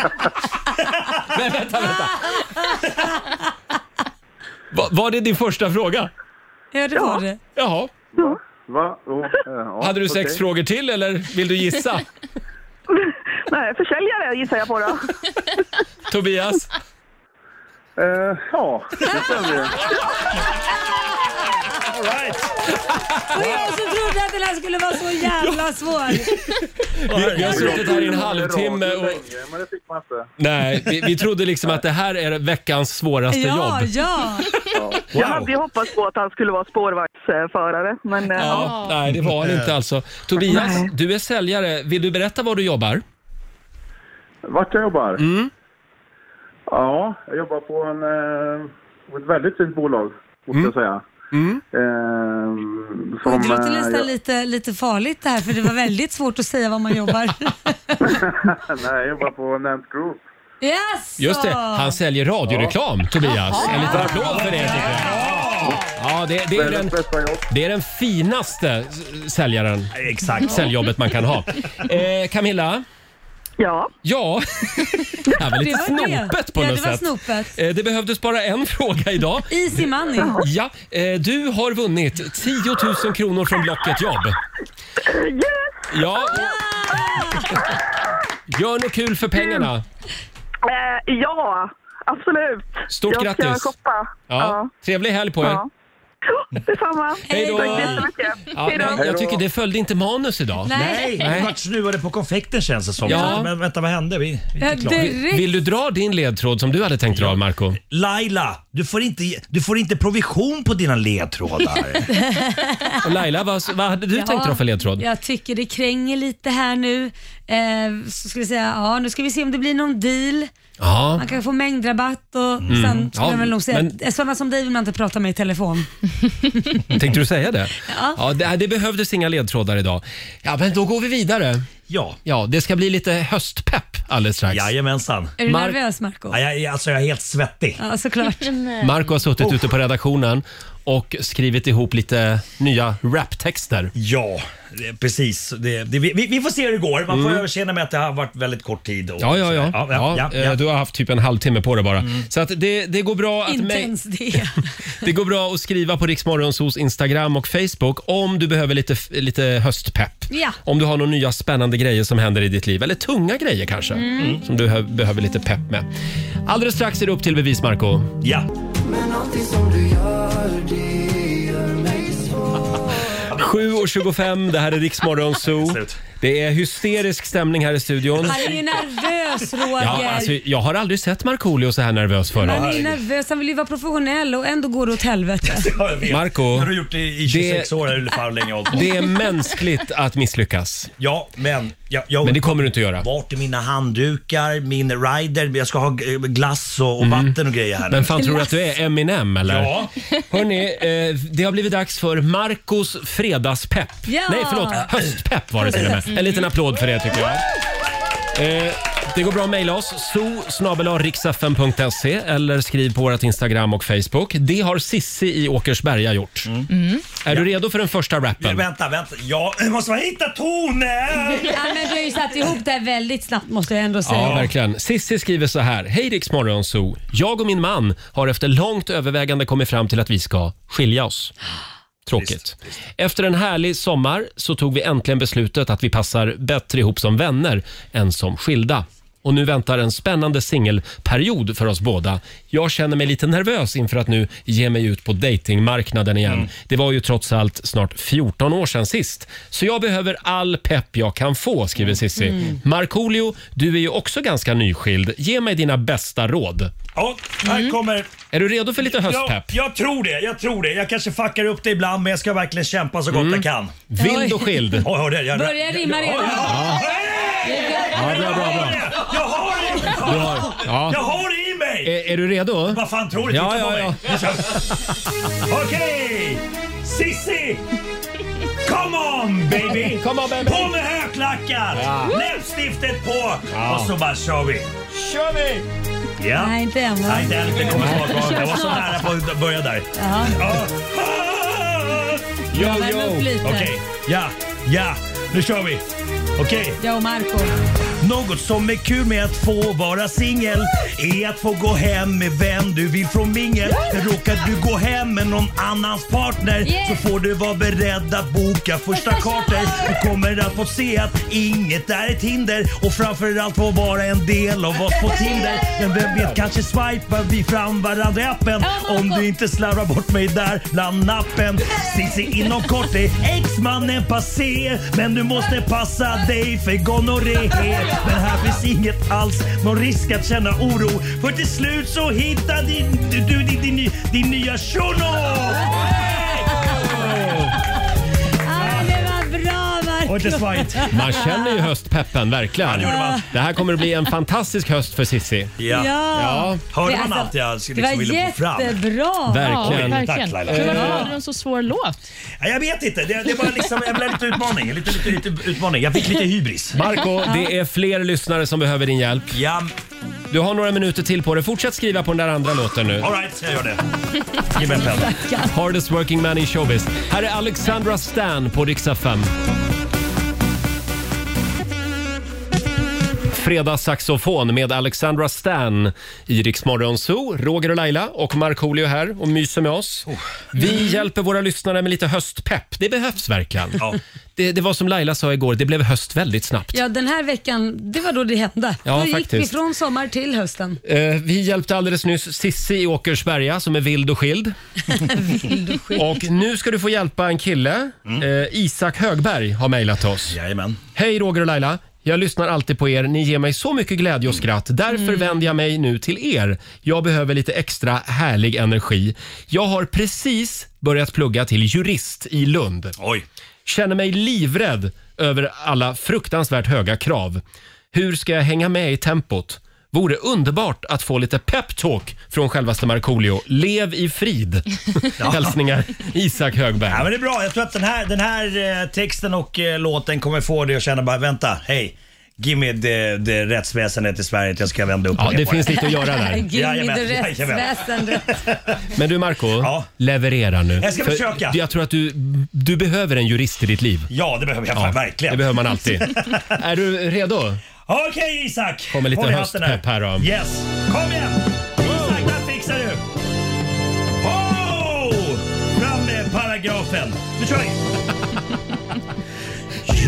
Men vänta, vänta. Va, var det din första fråga? Ja, det var det. Jaha. Va? Oh, eh, ja, Hade du sex okej. frågor till eller vill du gissa? Nej, försäljare gissar jag på då. Tobias? Eh, ja, det stämmer. All right. Och jag som trodde att den här skulle vara så jävla svår. Vi, vi har suttit här i en halvtimme och... Länge, men det fick man inte. Nej, vi, vi trodde liksom att det här är veckans svåraste Ja, jobb. ja. Jag Wow. hade ju hoppats på att han skulle vara spårvagnsförare, men eh, Ja, ja. nej, det var han inte alltså. Tobias, Nej. du är säljare. Vill du berätta var du jobbar? Vart jag jobbar? Ja, jag jobbar på en, eh, på ett väldigt fint bolag, måste jag säga. Eh, som, Det låter eh, nästan jag- lite, lite farligt det här för det var väldigt svårt att säga var man jobbar. Nej, jag jobbar på Nant Group. Yes! Just det, han säljer radioreklam, Tobias. En liten applåd för det tycker jag. Ja, det, det, är den, det är den finaste s- säljaren. Exakt. Säljjobbet man kan ha. Eh, Camilla? Ja? Ja. Det här var lite Det var det. snopet på Ja, något det var sätt. snopet. Eh, det behövdes bara en fråga idag. Easy money. Ja, eh, du har vunnit 10 000 kronor från Blocket Jobb. Ja, gör något kul för pengarna. Eh, ja, absolut. Stort jag Jag grattis. ska shoppa. Ja, trevlig helg på er. Ja. Detsamma. Hej då. Tack så jättemycket. Ja, Hej men då. jag tycker det följde inte manus idag. Nej, vi vart snuvade på konfekten känns det som. Ja. Men vänta, vad hände? Vi, vi är Ja, inte klara. direkt. Vill, vill du dra din ledtråd som du hade tänkt dra, Marco? Laila, du får, inte, du får inte provision på dina ledtrådar. Och Laila, vad, vad hade du Ja, tänkt dra för ledtråd? Jag tycker det kränger lite här nu. Eh, så ska vi säga, ja nu ska vi se om det blir någon deal. Ja. Man kan få mängdrabatt och Mm. sen skulle Ja, jag väl nog säga men- att sådana som dig vill man inte prata med i telefon. Tänkte du säga det? Ja. det, det behövdes inga ledtrådar idag. Ja, men då går vi vidare. Ja. Ja, det ska bli lite höstpepp alldeles strax. Jajamensan. Är du Mar- nervös Marco? Ja, jag, alltså jag är helt svettig. Ja, såklart. Marco har suttit ute på redaktionen och skrivit ihop lite nya raptexter. Ja, det, precis. Det, det, vi, vi får se hur det går. Man får överseende med att det har varit väldigt kort tid. Och Mm. Ja, ja, Mm. ja. sådär. ja, ja, eh, ja. Du har haft typ en halvtimme på dig bara. Så att det, det, går bra att Inte mej- ens det. det går bra att skriva på Riksmorgonsos Instagram och Facebook om du behöver lite, f- lite höstpepp. Ja. Om du har några nya spännande grejer som händer i ditt liv, eller tunga grejer kanske, Mm. mm, som du hö- behöver lite pepp med. Alldeles strax är det upp till bevis, Marco. ja. Men allting som du gör, det gör mig svår 7.25, det här är Riksmorgon Zoo. Slut. Det är hysterisk stämning här i studion. Han är ju nervös Roger. Ja, alltså, jag har aldrig sett Markoolio så här nervös Han är förut. ju nervös, han vill ju vara professionell och ändå går det åt helvete. Jag vet. Marco, Nu har du gjort det i 26 det- år eller fan hur länge jag har hållit på. Det är mänskligt att misslyckas. Ja, men... Jag, jag, Men det kommer du inte göra. Vart är mina handdukar, min rider? Jag ska ha eh, glass och, och Mm. vatten och grejer här nu. Vem fan tror du att du är? Eminem eller? Ja. Hörrni, eh, det har blivit dags för Marcos fredagspepp. Ja! Nej, förlåt. Höstpepp var det till och med. En liten applåd för det tycker jag. Eh, det går bra att mejla oss. zoo.riksfm.se eller skriv på vårt Instagram och Facebook. Det har Sissi i Åkersberga gjort. Mm. Är du redo för den första rappen? Vänta, vänta. Jag måste bara hitta tonen! Ja, men du har ju satt ihop det här väldigt snabbt måste jag ändå säga. Ja, verkligen. Sissi skriver så här. Hej Rix Morgonzoo. Jag och min man har efter långt övervägande kommit fram till att vi ska skilja oss. Tråkigt. Efter en härlig sommar så tog vi äntligen beslutet att vi passar bättre ihop som vänner än som skilda. Och nu väntar en spännande singelperiod för oss båda. Jag känner mig lite nervös inför att nu ge mig ut på datingmarknaden igen. Mm. Det var ju trots allt snart 14 år sedan sist. Så jag behöver all pepp jag kan få, skriver Sissi. Mm. Markoolio, du är ju också ganska nyskild. Ge mig dina bästa råd. Ja, här kommer... Är du redo för lite Mm. höstpepp? Jag, jag tror det, jag tror det. Jag kanske fuckar upp det ibland men jag ska verkligen kämpa så gott Mm. jag kan. Vild och skild. Ja, hörde jag. Börja rimma redan. Ja, bra, bra, bra. Jag har det! Du har- ja. Jag har det i mig! Är, är du redo? Vad fan tror du? Ja, Titta ja, på ja. mig. Okej! Sissi! Come on baby! Come on, baby. På med högklackat! Ja. Läppstiftet på! Ja. Och så bara kör vi. kör vi! Ja. Nej, inte än va? Nej, det, det kommer Nej. snart vara. Jag var så Snart. nära på att börja där. Ja. Ja. Yo, Värm yo. upp lite. Okej, ja, ja. Nu kör vi. Okej. Jag och Marco. Något som är kul med att få vara singel är att få gå hem med vem du vill från mingel. Men råkar du gå hem med någon annans partner Yeah. så får du vara beredd att boka första kartor. Du kommer att få se att inget är ett hinder och framförallt få vara en del av oss på Tinder. Men vem vet, kanske swipar vi fram varandra i appen om du inte slarvar bort mig där bland nappen. Cissi inom kort är exmannen passé men du måste passa dig för gonorré. Men här finns inget alls, någon risk att känna oro för till slut så hittar din, du, du, din, din, din nya shuno! Ah, det var bra Marco. Och inte svajigt. Man känner ju höstpeppen, verkligen. det gjorde man. Det här kommer att bli en fantastisk höst för Sissi. Ja. Ja. Hörde Det- alltså- man allt jag Det var liksom ville få fram? jättebra. Verkligen. Ja, Tack, verkligen. Laila. Men varför Ja. hade du en så svår låt? Ja, Jag vet inte, det, det var liksom, jag blev lite utmaning. Lite, lite, lite utmaning. Jag fick lite hybris. Marco, det är fler lyssnare som behöver din hjälp. Ja. Du har några minuter till på dig. Fortsätt skriva på den där andra låten nu. Alright, jag gör det. Ge mig en penna. Hardest working man in showbiz. Här är Alexandra Stan på riksdag 5. Fredagssaxofon med Alexandra Stan i Rix Morgon Zoo. Roger och Laila och Markoolio här och myser med oss. Vi hjälper våra lyssnare med lite höstpepp. Det behövs verkligen. Det, det var som Laila sa igår, det blev höst väldigt snabbt. Ja, den här veckan, det var då det hände. Ja, då gick vi faktiskt. från sommar till hösten. Eh, vi hjälpte alldeles nyss Sissi i Åkersberga som är vild och skild. och nu ska du få hjälpa en kille. Eh, Isak Högberg har mejlat oss. Jajamän. Hej Roger och Laila. Jag lyssnar alltid på er. Ni ger mig så mycket glädje och skratt. Därför vänder jag mig nu till er. Jag behöver lite extra härlig energi. Jag har precis börjat plugga till jurist i Lund. Oj. Känner mig livrädd över alla fruktansvärt höga krav. Hur ska jag hänga med i tempot? Vore underbart att få lite peptalk från självaste Markoolio. Lev i frid! Hälsningar Isak Högberg. Ja, men det är bra. Jag tror att den här, den här eh, texten och eh, låten kommer få dig att känna bara vänta, hej. Give me the, the rättsväsendet i Sverige, jag ska vända upp Ja, och ner det på finns lite att göra där. Give me Jajamän, the jajamän. rättsväsendet. Men du Marco, leverera nu. Jag ska För försöka. Jag tror att du, du behöver en jurist i ditt liv. Ja, det behöver jag fan verkligen. Det behöver man alltid. är du redo? Okej Isak! Kommer lite Håll i hatten höstpepp här då. Yes, kom igen! Isak, där fixar du! Oh! Fram med paragrafen. Nu kör vi!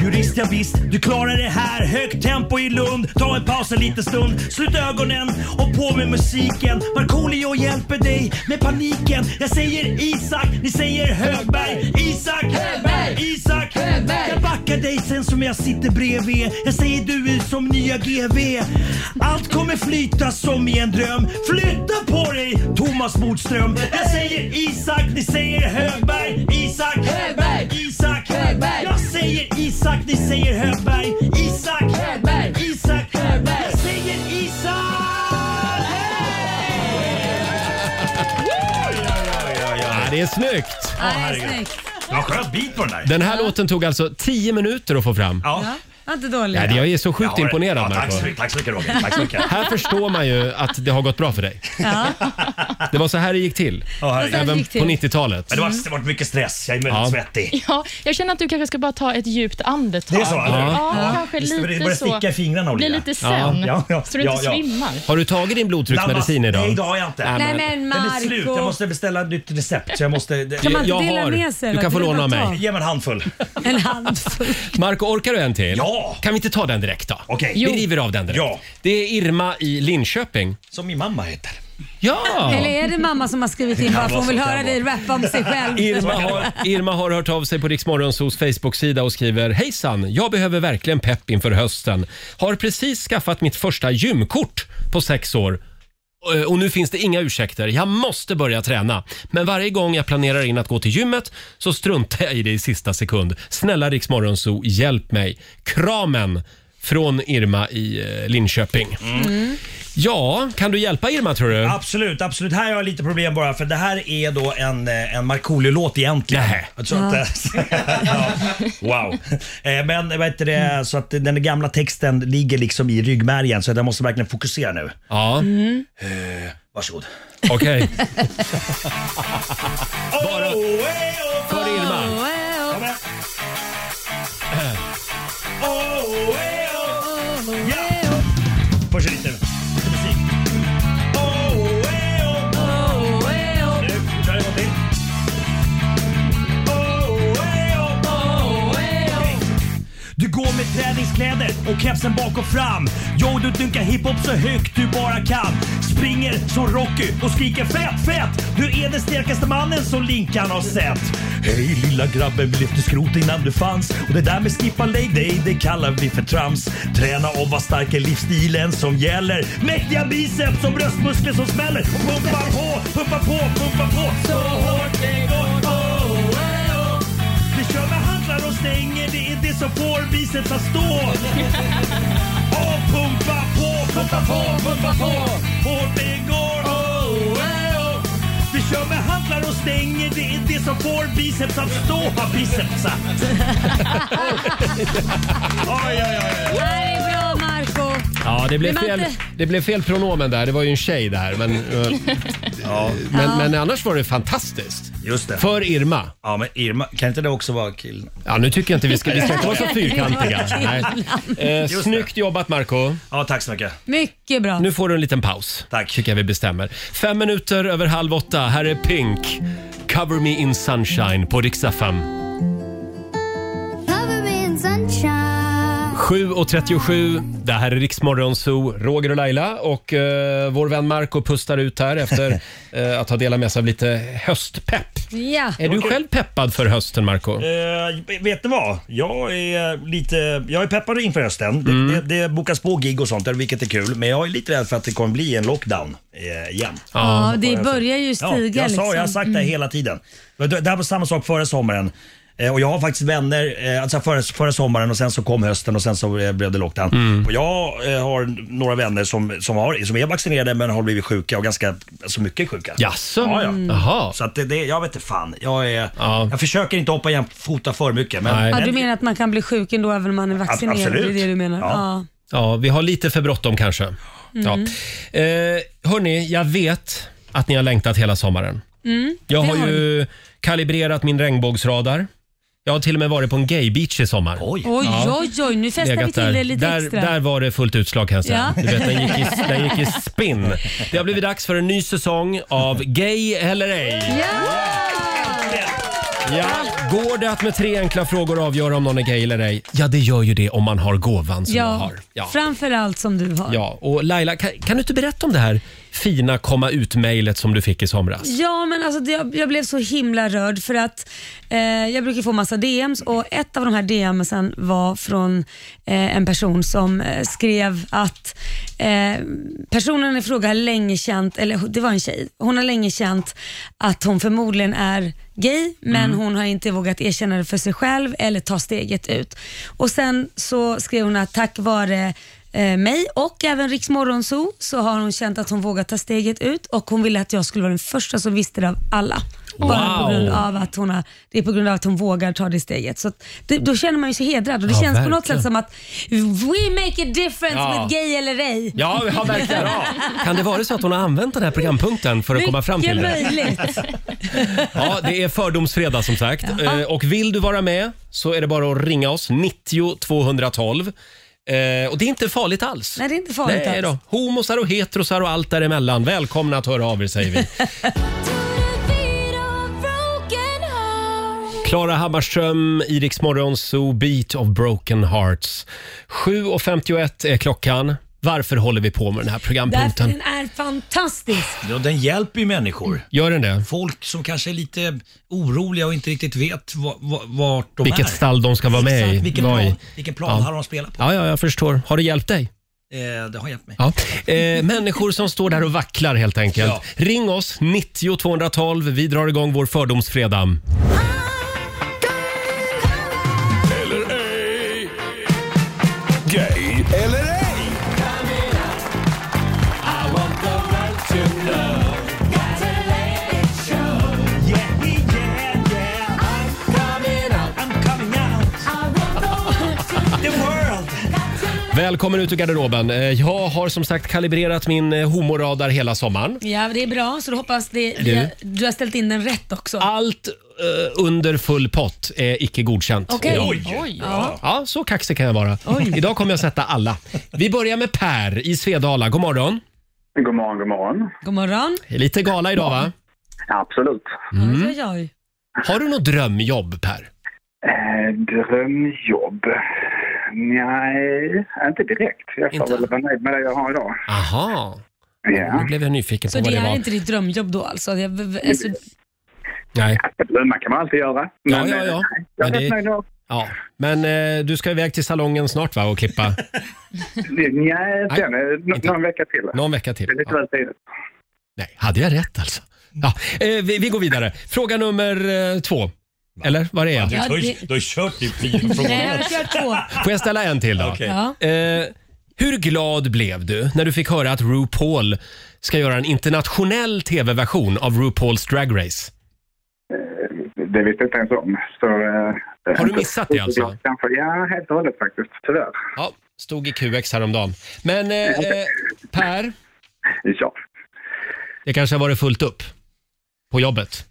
Jurist ja visst, du klarar det här. Högt tempo i Lund. Ta en paus en liten stund. Slut ögonen och på med musiken. Markoolio hjälper dig med paniken. Jag säger Isak, ni säger Högberg. Isak! Högberg! Isak! Högberg! Jag backar dig sen som jag sitter bredvid. Jag säger du är som nya GV. Allt kommer flyta som i en dröm. Flytta på dig Thomas Bodström. Jag säger Isak, ni säger Högberg. Isak! Högberg! Isak! Högberg! Jag säger Isak, ni säger Högberg. Isak! Högberg! Isak! Högberg! Jag säger Isak! Ja, det är snyggt! Ja, herregud. Det var en skön bit på den där. Den här låten tog alltså 10 minuter att få fram. Ja. Ja, inte dålig. Ja, jag är så sjukt Ja, imponerad ja, tack, Marco. så mycket, tack så mycket Roger. Tack så mycket. Här förstår man ju att det har gått bra för dig. Ja. Det var så här det gick till. herregud. Så här det Även gick till. på 90-talet. Men det har varit- det har varit mycket stress. Jag är väldigt Ja. svettig. Ja, jag känner att du kanske ska bara ta ett djupt andetag. Det är så, eller hur? Ja, Ja. kanske Just det, lite det börjar så. sticka i fingrarna, Olivia. Bli lite sen, Ja. Ja, ja, så du inte ja, ja. svimmar. Har du tagit din blodtrycksmedicin idag? Nej, idag har jag inte. Nej, men- Nej, men Den är slut. Marco. Jag måste beställa ett nytt recept. Så jag måste... Kan man inte Jag dela har. med sig, Du då? kan få Det är låna av bara mig. att ta. Ge mig en handfull. En handfull. Marco, orkar du en till? Ja! Kan vi inte ta den direkt då? Okej. Vi Jo. river av den direkt. Ja. Det är Irma i Linköping. Som min mamma heter. Ja! Eller är det mamma som har skrivit in Det kan bara för hon vara vill så, höra kan dig vara. rappa om sig själv? Irma har, Irma har hört av sig på Riksmorgonsos Facebook-sida och skriver Hejsan, jag behöver verkligen pepp inför hösten. Har precis skaffat mitt första gymkort på sex år. Eh, Och nu finns det inga ursäkter. Jag måste börja träna. Men varje gång jag planerar in att gå till gymmet så struntar jag i det i sista sekund. Snälla Riksmorgonso, hjälp mig. Kramen från Irma i eh, Linköping. Ja, kan du hjälpa Irma tror du? Absolut, absolut. Här har jag lite problem bara för det här är då en, eh, en Markoolio-låt egentligen. Nej. Jag tror inte... ja. Wow. Eh, Men vad heter det, så att den gamla texten ligger liksom i ryggmärgen så att jag måste verkligen fokusera nu. Ja. Mm. Eh, varsågod. Okej. Bara... För Irma. Oh, Först lite musik. Oh, Nu kör vi en gång till. Oh, Du går med träningskläder och kepsen bak och fram. Jo, du dunkar hiphop så högt du bara kan. Springer som Rocky och skriker fett, fett. Du är den starkaste mannen som Linkan har sett. Hej lilla grabben, vi lyfter skrot innan du fanns. Och det där med skippa leg day, det kallar vi för trams. Träna och var stark är livsstilen som gäller. Mäktiga biceps och bröstmuskler som smäller. Och pumpa på, pumpa på, pumpa på. Så hårt det går. Oh, oh, oh. Vi kör med handlar och stänger, det är det som får biceps att stå. Och pumpa på, pumpa på, pumpa på. Hårt det går. Oh, eh, oh. Vi kör med handlar och stänger, det är det som får biceps att stå. Ha biceps. Oj, oj, Det oj. här är bra Marco Ja, det blev, Men man fel, inte- det blev fel pronomen där. Det var ju en tjej där. Men, eh, men, Ja. men annars var det fantastiskt. Just det. För Irma. Ja, men Irma, kan inte det också vara kill? Ja, nu tycker jag inte vi ska, vi ska inte vara så fyrkantiga. Det var Nej. Eh, Just det. snyggt jobbat Marco Ja, tack så mycket. Mycket bra. Nu får du en liten paus. Tack. Tycker jag vi bestämmer. Fem minuter över halv åtta. Här är Pink. Cover me in sunshine på riksdag 5. 7.37, det här är Riksmorgon Zoo, Roger och Laila och eh, vår vän Marco pustar ut här efter eh, att ha delat med sig av lite höstpepp. Ja. Är du själv peppad för hösten Marco? Eh, vet ni vad? Jag är lite jag är peppad inför hösten. Det- Mm. Det, det bokas på gig och sånt, där, vilket är kul. Men jag är lite rädd för att det kommer bli en lockdown eh, igen. Ja, det börjar ju stiga, Ja, jag, sa, jag har liksom. sagt det Mm. hela tiden. Men Det det här var samma sak förra sommaren. Eh, Och jag har faktiskt vänner, eh, alltså förra, förra sommaren och sen så kom hösten och sen så eh, blev det lockdown. Mm. Och jag eh, har några vänner som, som, har, som är vaccinerade men har blivit sjuka och ganska alltså mycket sjuka. Jaså? Ja, ja. Mm. Jaha. Så att det, det, jag vet inte fan. Jag, är, jag försöker inte hoppa igen fota för mycket. Men, Nej. Ja, du men- menar att man kan bli sjuk ändå även om man är vaccinerad? absolut. Det är det du menar? Ja. Ja. Ja, vi har lite för bråttom kanske. Ja. Mm. Eh, hörni, jag vet att ni har längtat hela sommaren. Mm. Jag Det har ju kalibrerat min regnbågsradar. Jag har till och med varit på en gaybeach i sommar. Oj, Oj, oj, oj, nu festar vi Legat till där. det lite där, extra. Där var det fullt utslag kan jag säga. Ja. Du vet, den, gick i, den gick i spinn. Det har blivit dags för en ny säsong av Gay eller ej. Ja! Ja. Går det att med tre enkla frågor avgöra om någon är gay eller ej? Ja, det gör ju det om man har gåvan som jag Ja, har. Ja. framförallt som du har. Ja, och Laila, kan, kan du inte berätta om det här fina komma ut-mejlet som du fick i somras? Ja, men alltså, det- jag, jag blev så himla rörd för att eh, jag brukar få massa DMs och ett av de här DMsen var från eh, en person som eh, skrev att eh, personen i fråga har länge känt, eller det var en tjej, hon har länge känt att hon förmodligen är gay men Mm. hon har inte vågat erkänna det för sig själv eller ta steget ut. Och sen så skrev hon att tack vare eh, mig och även Riks Morgonzoo så har hon känt att hon vågat ta steget ut och hon ville att jag skulle vara den första som visste det av alla. Bara på Wow. grund av att hon har, det är på grund av att hon vågar ta det steget. Så att det, då känner man ju sig hedrad och det Ja, känns på något verkligen. sätt som att we make a difference Ja. with gay eller ej. Ja, ja, verkligen. Kan det vara så att hon har använt den här programpunkten för att komma fram till Mycket det? möjligt. Ja, det är fördomsfredag som sagt. Eh, Och vill du vara med så är det bara att ringa oss, 90 212. Eh, och det är inte farligt alls. Nej, det är inte farligt Nej, alls. Då. Homosar och heterosar och allt däremellan. Välkomna att höra av er säger vi. Klara Hammarström, Iriks morgonzoo, Beat of Broken Hearts. 7.51 är klockan. Varför håller vi på med den här Därför programpunkten? den är fantastisk. Ja, den hjälper ju människor. Gör den det? Folk som kanske är lite oroliga och inte riktigt vet va- va- vart de Vilket är. stall de ska vara med i. Exakt, vilken vara i. plan- vilken plan har de spelat på? Ja, ja, jag förstår. Har det hjälpt dig? Eh, det har hjälpt mig. Ja. Eh, människor som står där och vacklar helt enkelt. Ja. Ring oss, 90 212. Vi drar igång vår fördomsfredag. Eller ej. Gay eller ej. Välkommen ut ur garderoben. Eh, Jag har som sagt kalibrerat min eh, homoradar hela sommaren. Ja, det är bra. Så då hoppas det, Du? du, du har ställt in den rätt också. Allt Eh, Under full pott är icke godkänt. Okej. idag. Oj. Oj. Ja. ja, så kaxig kan jag vara. Idag kommer jag sätta alla. Vi börjar med Per i Svedala. God morgon. God morgon, god morgon. God morgon. Lite gala idag va? Absolut. Mm. Oj, oj. Har du något drömjobb Per? Eh, drömjobb? Nej, inte direkt. Jag får väl vara nöjd med det jag har idag. Aha. Ja. Nu blev jag nyfiken Så på vad det det är var. inte ditt drömjobb då alltså? Jag, alltså Nej. Drömmar kan man alltid göra. Ja, Men, ja, eh, ja. nej, Jag är Men rätt nöjd idag. Ja, men eh, du ska iväg till salongen snart va och klippa? Nej, sen, eh, nå- någon vecka till. Någon vecka till. Det är lite väl tidigt. Nej, hade jag rätt alltså? Ja, eh, vi, vi går vidare. Fråga nummer eh, två. Eller var är jag? Du, har, ju- du har ju kört i fyra frågor. Nej, jag har kört två. Får jag ställa en till då? Okej. Ja. Eh, hur glad blev du när du fick höra att RuPaul ska göra en internationell tv-version av RuPaul's Drag Race? Det visste jag inte ens om. Så, eh, Har du missat det alltså? Kanske. Ja, helt och hållet faktiskt. Tyvärr. Ja, stod i QX häromdagen. Men eh, eh, Per? Ja. Det kanske har varit fullt upp på jobbet?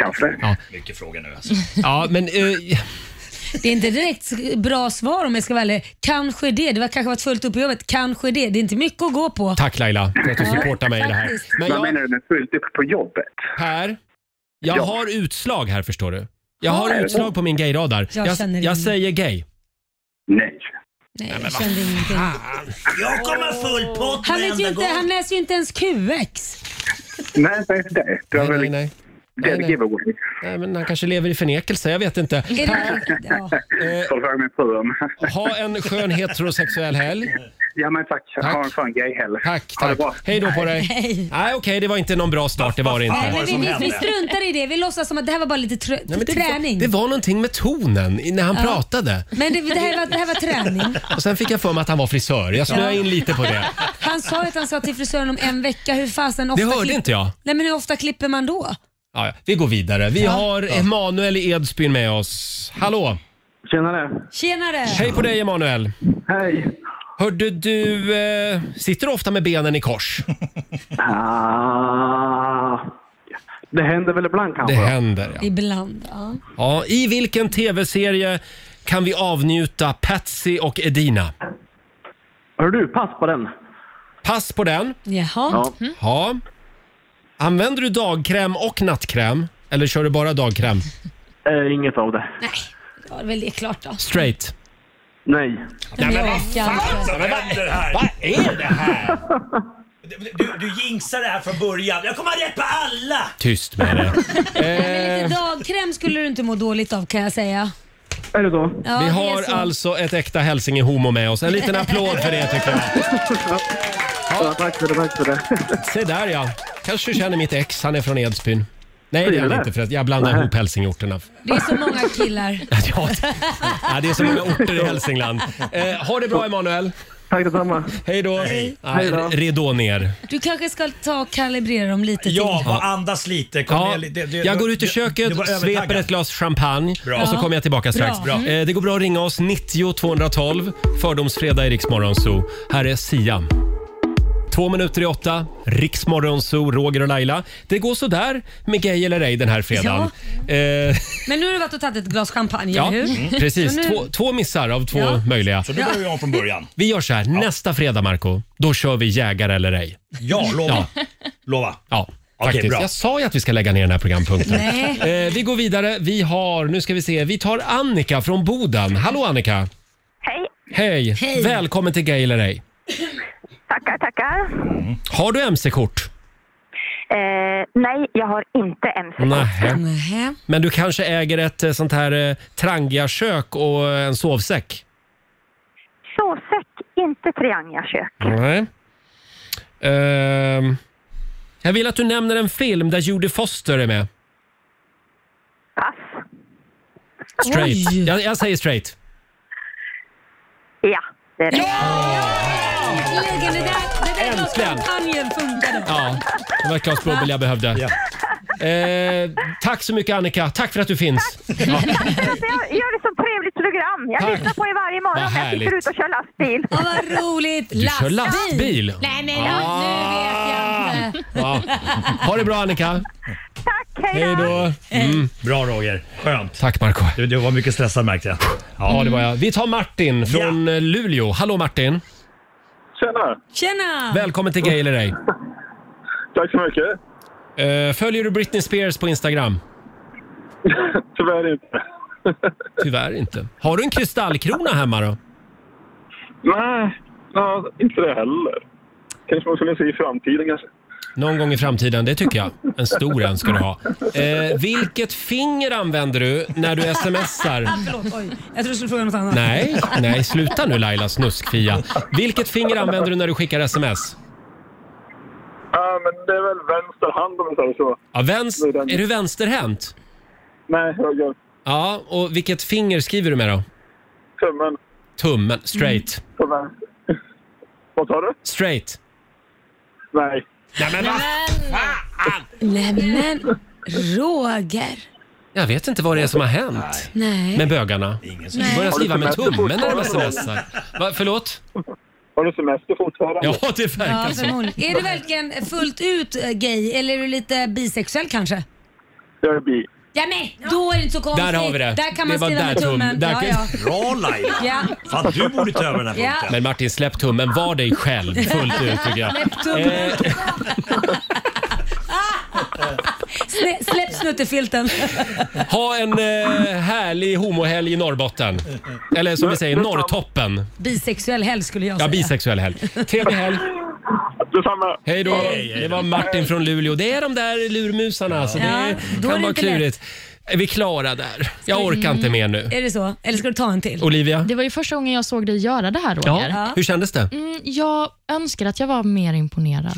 Kanske. Ja, Mycket frågor nu alltså. ja men eh, det är inte direkt bra svar om jag ska vara ärlig. Kanske det. Det var kanske varit fullt upp på jobbet. Kanske det. Det är inte mycket att gå på. tack Laila för att du Ja, supportar mig i det här. faktiskt. Men Vad jag, menar du med fullt upp på jobbet? Per, jag Ja. har utslag här förstår du. Jag Ja, har är det utslag så? på min gayradar. Jag känner Jag, jag ingen. säger gay. Nej. men Nej, jag vad kände ingenting. Jag kommer full pott Han, vet ju inte, han läser ju inte ens QX. Nej, inte ens det. Det var väl nej. Nej, dead nej. giveaway. Nej, men han kanske lever i förnekelse, jag vet inte. Eh, Per, Får fråga min fru om. ha en skön heterosexuell helg. Ja, men tack. Ha en skön gayhelg. Tack, Ha det tack. bra. Hej då på dig. Hej. Nej, okej, det var inte någon bra start, det var det Nej, inte. men vi, vi, vi struntar i det. Vi låtsas som att det här var bara lite tr- Nej, men det, träning. var, det var någonting med tonen i- när han Ja. pratade. Men det, det, här var, det här var träning. Och sen fick jag för mig att han var frisör. Jag snöade Ja. in lite på det. Han sa ju att han sa till frisören om en vecka. Hur fasen ofta Det hörde klipp- inte jag. Nej men hur ofta klipper man då? Ja, ja, vi går vidare. Vi Ja. har Ja. Emanuel i Edsbyn med oss. Hallå! Tjenare! Tjenare! Hej på dig Emanuel! Hej! Hörde du, eh, sitter du ofta med benen i kors? Ah, det händer väl ibland Det kanske? händer ja. Ibland, ja. ja. I vilken tv-serie kan vi avnjuta Patsy och Edina? Hör du, pass på den. Pass på den. Jaha. Ja. Använder du dagkräm och nattkräm? Eller kör du bara dagkräm? Eh, inget av det. Nej, ja, väl det är klart då. Straight? Nej. Nej, men vad Fan, som händer här? Vad är det här? Du, du jinxar det här från början. Jag kommer ha rätt på alla! Tyst med det. Men Eh. lite dagkräm skulle du inte må dåligt av kan jag säga. Är det då? Ja, Vi det är har så. alltså ett äkta hälsinge homo med oss. En liten applåd för det tycker jag. Ja, tack för det, tack för det. Se där ja. Kanske du känner mitt ex, han är från Edsbyn. Nej det är han inte för att jag blandar ihop hälsingeorterna. Det är så många killar. Ja, Ja, det är så många orter i Hälsingland. Eh, ha det bra Emanuel. Tack detsamma. Hej då. Hej. Ah, Hej då. Ridå ner. Du kanske ska ta och kalibrera dem lite Ja, till. bara andas lite. Kom Ja, ner lite. Det- det- jag går ut i det- det var köket, sveper övertaggat. ett glas champagne Bra. och så Ja. kommer jag tillbaka strax. Bra. Mm. Eh, Det går bra att ringa oss 90 212 Fördomsfredag i Riksmorgon Zoo. Här är Sia. Två minuter i åtta, Riksmorgon Zoo, Roger och Laila. Det går sådär med gay eller ej den här fredagen. Eh, Men nu har du varit och tagit ett glas champagne, Ja, Mm. eller hur? precis. Så nu- Två, två missar av två Ja. möjliga. Så nu börjar vi om från början. Vi gör så här. Nästa fredag, Marco, då kör vi jägare eller ej. Ja, lova. Lova. Ja. Okej, Faktiskt. bra. Jag sa ju att vi ska lägga ner den här programpunkten. Nej. Eh, vi går vidare. Vi har, nu ska vi se, vi tar Annika från Boden. Hallå Annika! Hej! Hej! Hej. Välkommen till Gay eller ej. Tackar, tackar. Har du mc-kort? Eh, nej, jag har inte Mm. MC. Nähä. Nähä. Men du kanske äger ett eh, sånt här eh, trangiakök och eh, en sovsäck? Sovsäck, inte triangelkök. Nej. Ehm, jag vill att du nämner en film där Judy Foster är med. Pass. Straight. Oj. Jag, jag säger straight. Ja, det är det. Äntligen! Det där, det där glaset Äntligen. champagne funkade. Ja, det var ett glas bubbel jag behövde. Eh, tack så mycket Annika. Tack för att du finns. Ja. Jag gör det som trevligt program. Jag lyssnar på er varje morgon Vad när jag sitter härligt. ute och kör lastbil. Ja, vad roligt! Du kör lastbil? Nej, men Ah. nu vet jag inte. Ja. Ha det bra Annika. Tack, hej då. Mm. Bra Roger. Skönt. Tack Marco. Du, du var mycket stressad märkte jag. Ja, det var jag. Vi tar Martin från eh, Luleå. Hallå Martin. Tjena! Tjena! Välkommen till Gay eller ej. Tack så mycket. Eh, följer du Britney Spears på Instagram? Tyvärr inte. Tyvärr inte. Har du en kristallkrona hemma då? Nej, ja, inte det heller. Kanske man skulle se i framtiden kanske. Någon gång i framtiden, det tycker jag. En stor en ska du ha. Eh, vilket finger använder du när du smsar? Ah, förlåt, oj. Jag trodde du skulle fråga något annat. Nej, nej, sluta nu Laila Snuskfia. Vilket finger använder du när du skickar sms? Ja, men det är väl vänster hand om man säger så. Ja, vänster, är du vänsterhänt? Nej, höger. Ja, och vilket finger skriver du med då? Tummen. Tummen, straight. På vänster. Vad sa du? Straight. Nej. Nej, men va? Nej, men Roger. Jag vet inte vad det är som har hänt Nej. med bögarna. som- Börjar Nej. skriva med Har du tummen när de semester fortfarande? smsar. Va, förlåt? Har du semester fortfarande? Ja, det verkar Ja, så. förmodligen. Är du verkligen fullt ut eh, gay eller är du lite bisexuell kanske? Jag är bi. Ja, men då är det inte så konstigt. Där har vi det. Där kan Det man var skriva där med tummen. tum- där ja, kan- ja. Bra Laila. Ja. Fan, du borde ta över den här Ja. punkten. Men Martin, släpp tummen. Var dig själv fullt ut tycker jag. Släpp tummen. Eh, Slä, släpp snuttefilten. ha en eh, härlig homohelg i Norrbotten. Eller som vi säger, Norrtoppen. Bisexuell helg skulle jag Ja, säga. bisexuell helg. Trevlig helg. Detsamma. Hej då. Hej, hej, hej. Det var Martin från Luleå. Det är de där lurmusarna, så Ja, det då är kan det vara inte lätt. klurigt. Är vi klara där? Jag orkar inte mer nu. Är det så? Eller ska du ta en till? Olivia? Det var ju första gången jag såg dig göra det här, Roger. Ja, hur kändes det? Mm, jag önskar att jag var mer imponerad.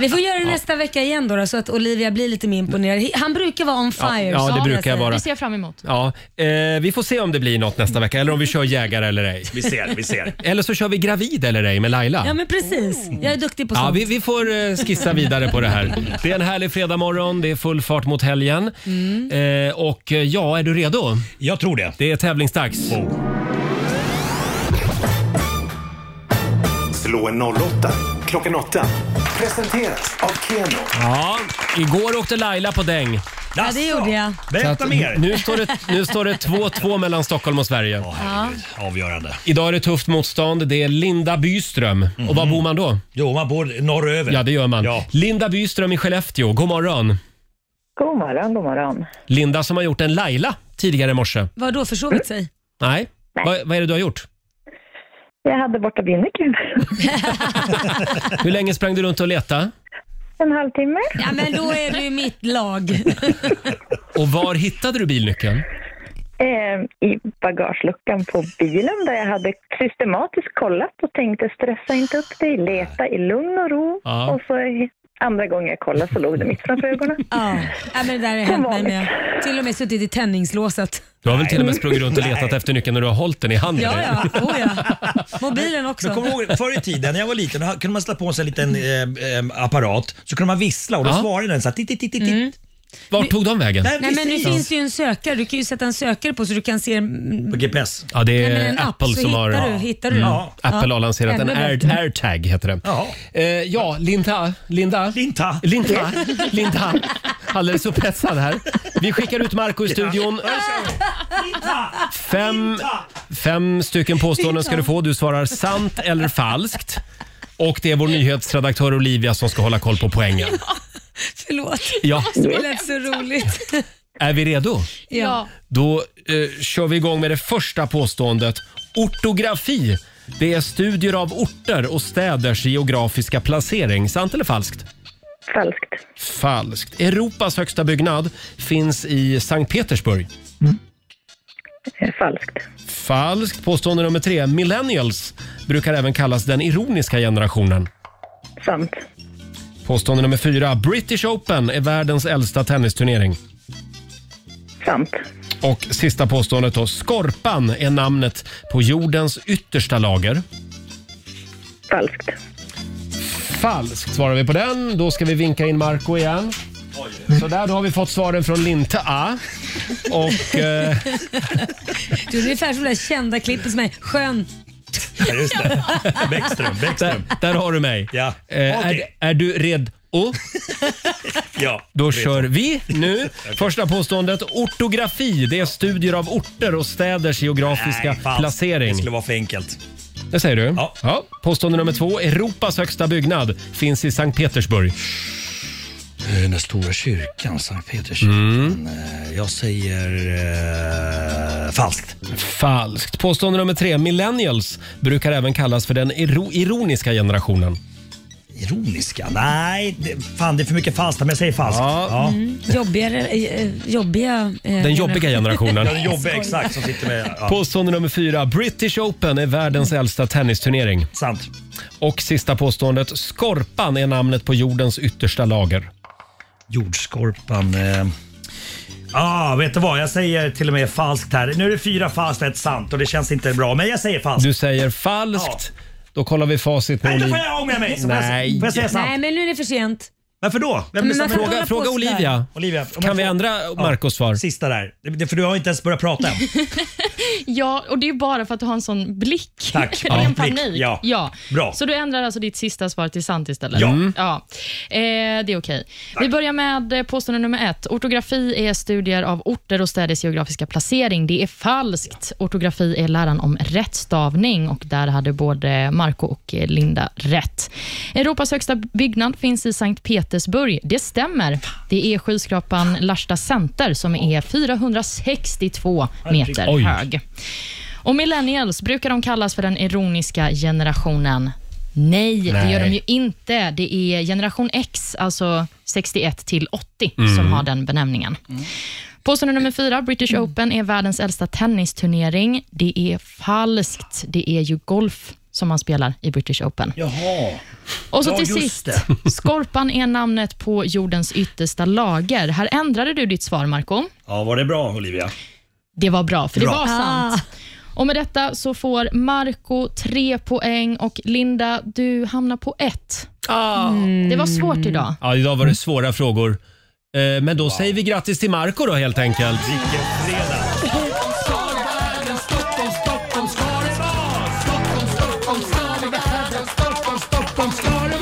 Vi får göra det nästa vecka igen då, då så att Olivia blir lite mer imponerad. Han brukar vara on fire. ja, det så- brukar jag vara. Det ser jag fram emot. Ja, eh, vi får se om det blir något nästa vecka eller om vi kör jägare eller ej. Vi ser, vi ser. Eller så kör vi gravid eller ej med Laila. Ja men precis, jag är duktig på Mm. Ja, sånt. vi, vi får eh, skissa vidare på det här. Det är en härlig fredagmorgon, det är full fart mot helgen. Mm. Eh, och eh, ja, är du redo? Jag tror det. Det är tävlingsdags. Slå en 08 klockan 8. Presenteras av Keno. Ja, igår åkte Laila på däng. Ja, det gjorde jag. Så Berätta att mer. Nu står det nu står det 2-2 mellan Stockholm och Sverige. Ja. Avgörande. Idag är det tufft motstånd. Det är Linda Byström. Mhm. Och var bor man då? Jo, man bor norröver. Ja, det gör man. Ja. Linda Byström i Skellefteå. God morgon. God morgon, god morgon. Linda som har gjort en Laila tidigare i morse. Vad då försovit sig? Nej, Vad- vad är det du har gjort? Jag hade borta kul. Hur länge sprang du runt och letade? En halvtimme. Ja, men då är du i mitt lag. Och var hittade du bilnyckeln? Eh, I bagageluckan på bilen där jag hade systematiskt kollat och tänkte stressa inte upp dig, leta i lugn och ro. Ja. Och så i- andra gången jag kollade så låg det mitt framför ögonen. Ja, ja men det där har hänt mig med. Till och med suttit i tändningslåset. Du har väl till och med sprungit runt och letat efter nyckeln när du har hållit den i handen? Ja, eller? ja. Oh, ja. Mobilen också. Men kommer du ihåg förr i tiden när jag var liten, då kunde man slå på en sån liten eh, eh, apparat, så kunde man vissla och då svarade den så här, tit, tit, tit, tit. Mm. Vart tog de vägen? Nej, Nej, men nu precis. finns det ju en sökare. Du kan ju sätta en sökare på så du kan se... På GPS. Ja, det Nej, är men en app, Eh, Apple så som har... Mm. hittar du- hittar du den. Ja. Apple Ja. har lanserat en Ännu Air, bättre. AirTag, heter den. Ja, eh, ja Linda, Linda. Linda. Linda. Linda. Alldeles upphetsad här. Vi skickar ut Marco i studion. Fem, fem stycken påståenden ska du få. Du svarar sant eller falskt. Och det är vår nyhetsredaktör Olivia som ska hålla koll på poängen. Förlåt. Ja. Det lät så roligt. Är vi redo? Ja. Då eh, kör vi igång med det första påståendet. Ortografi. Det är studier av orter och städers geografiska placering. Sant eller falskt? Falskt. Falskt. Europas högsta byggnad finns i Sankt Petersburg. Eh, Falskt. Falskt. Påstående nummer tre. Millennials brukar även kallas den ironiska generationen. Sant. Påstående nummer fyra. British Open är världens äldsta tennisturnering. Sant. Och sista påståendet då. Skorpan är namnet på jordens yttersta lager. Falskt. Falskt svarar vi på den. Då ska vi vinka in Marco igen. Så där, då har vi fått svaren från Linta A. Och... Eh, Du är ungefär som det där kända klippet som är skön. Ja, just det. Bäckström, Bäckström. Där, där har du mig. Ja. Eh, Okej. är, är du redo? Ja, Då jag vet. kör vi nu. Första påståendet. Ortografi, det är studier av orter och städers geografiska Nej, falskt. placering. Det skulle vara för enkelt. Det säger du? Ja. Påstående nummer två. Europas högsta byggnad finns i Sankt Petersburg. Den stora kyrkan, Sankt Mm. Peterskyrkan. eh, Jag säger falskt. Falskt. Påstående nummer tre. Millennials brukar även kallas för den iro- ironiska generationen. Ironiska? Nej, det, fan det är för mycket falskt men jag säger falskt. Ja. Mm. Jobbigare, eh, jobbiga... eh, Den jobbiga generationen. Ja, den jobbiga, exakt, som sitter med- ja. Påstående nummer fyra. British Open är Mm. världens äldsta tennisturnering. Sant. Och sista påståendet. Skorpan är namnet på jordens yttersta lager. Jordskorpan. Eh. Ah, vet du vad? Jag säger till och med falskt här. Nu är det fyra falskt, ett sant och det känns inte bra. Men jag säger falskt. Du säger falskt. Då kollar vi facit. Nej, då får Oliv- jag ångra mig. Så får jag- Nej. får jag säga sant? Nej, men nu är det för sent. Varför då? Men man kan inte fråga hålla fråga på sådär. Olivia. Olivia om Kan jag vi får- ändra Marcos svar? Sista där. Det- det- För du har inte ens börjat prata än. Ja, och det är bara för att du har en sån blick. Tack. Det Ja, är en blick. panik. Ja. Bra. Så du ändrar alltså ditt sista svar till sant istället? Mm. Ja. ja. Eh, det är okej. Vi börjar med eh, påstående nummer ett. Ortografi är studier av orter och städers geografiska placering. Det är falskt. Ortografi är läran om rättstavning och där hade både Marco och eh, Linda rätt. Europas högsta byggnad finns i Sankt Petersburg. Det stämmer. Det är skyskrapan Larsta Center som är 462 meter Oj. hög. Och millennials, brukar de kallas för den ironiska generationen? Nej, det Nej. gör de ju inte. Det är generation X, alltså 61 till 80, som Mm. har den benämningen. Påstående nummer fyra, British Open är världens äldsta tennisturnering. Det är falskt. Det är ju golf som man spelar i British Open. Jaha. Och så Ja, till just sist, det. skorpan är namnet på jordens yttersta lager. Här ändrade du ditt svar, Marco. Ja, var det bra Olivia? Det var bra, för Bra. det var sant. Ah. Och Med detta så får Marco tre poäng och Linda, du hamnar på ett. Mm. Det var svårt idag. Ah. Ja, idag var det svåra frågor. Eh, Men då säger vi grattis till Marco då helt enkelt.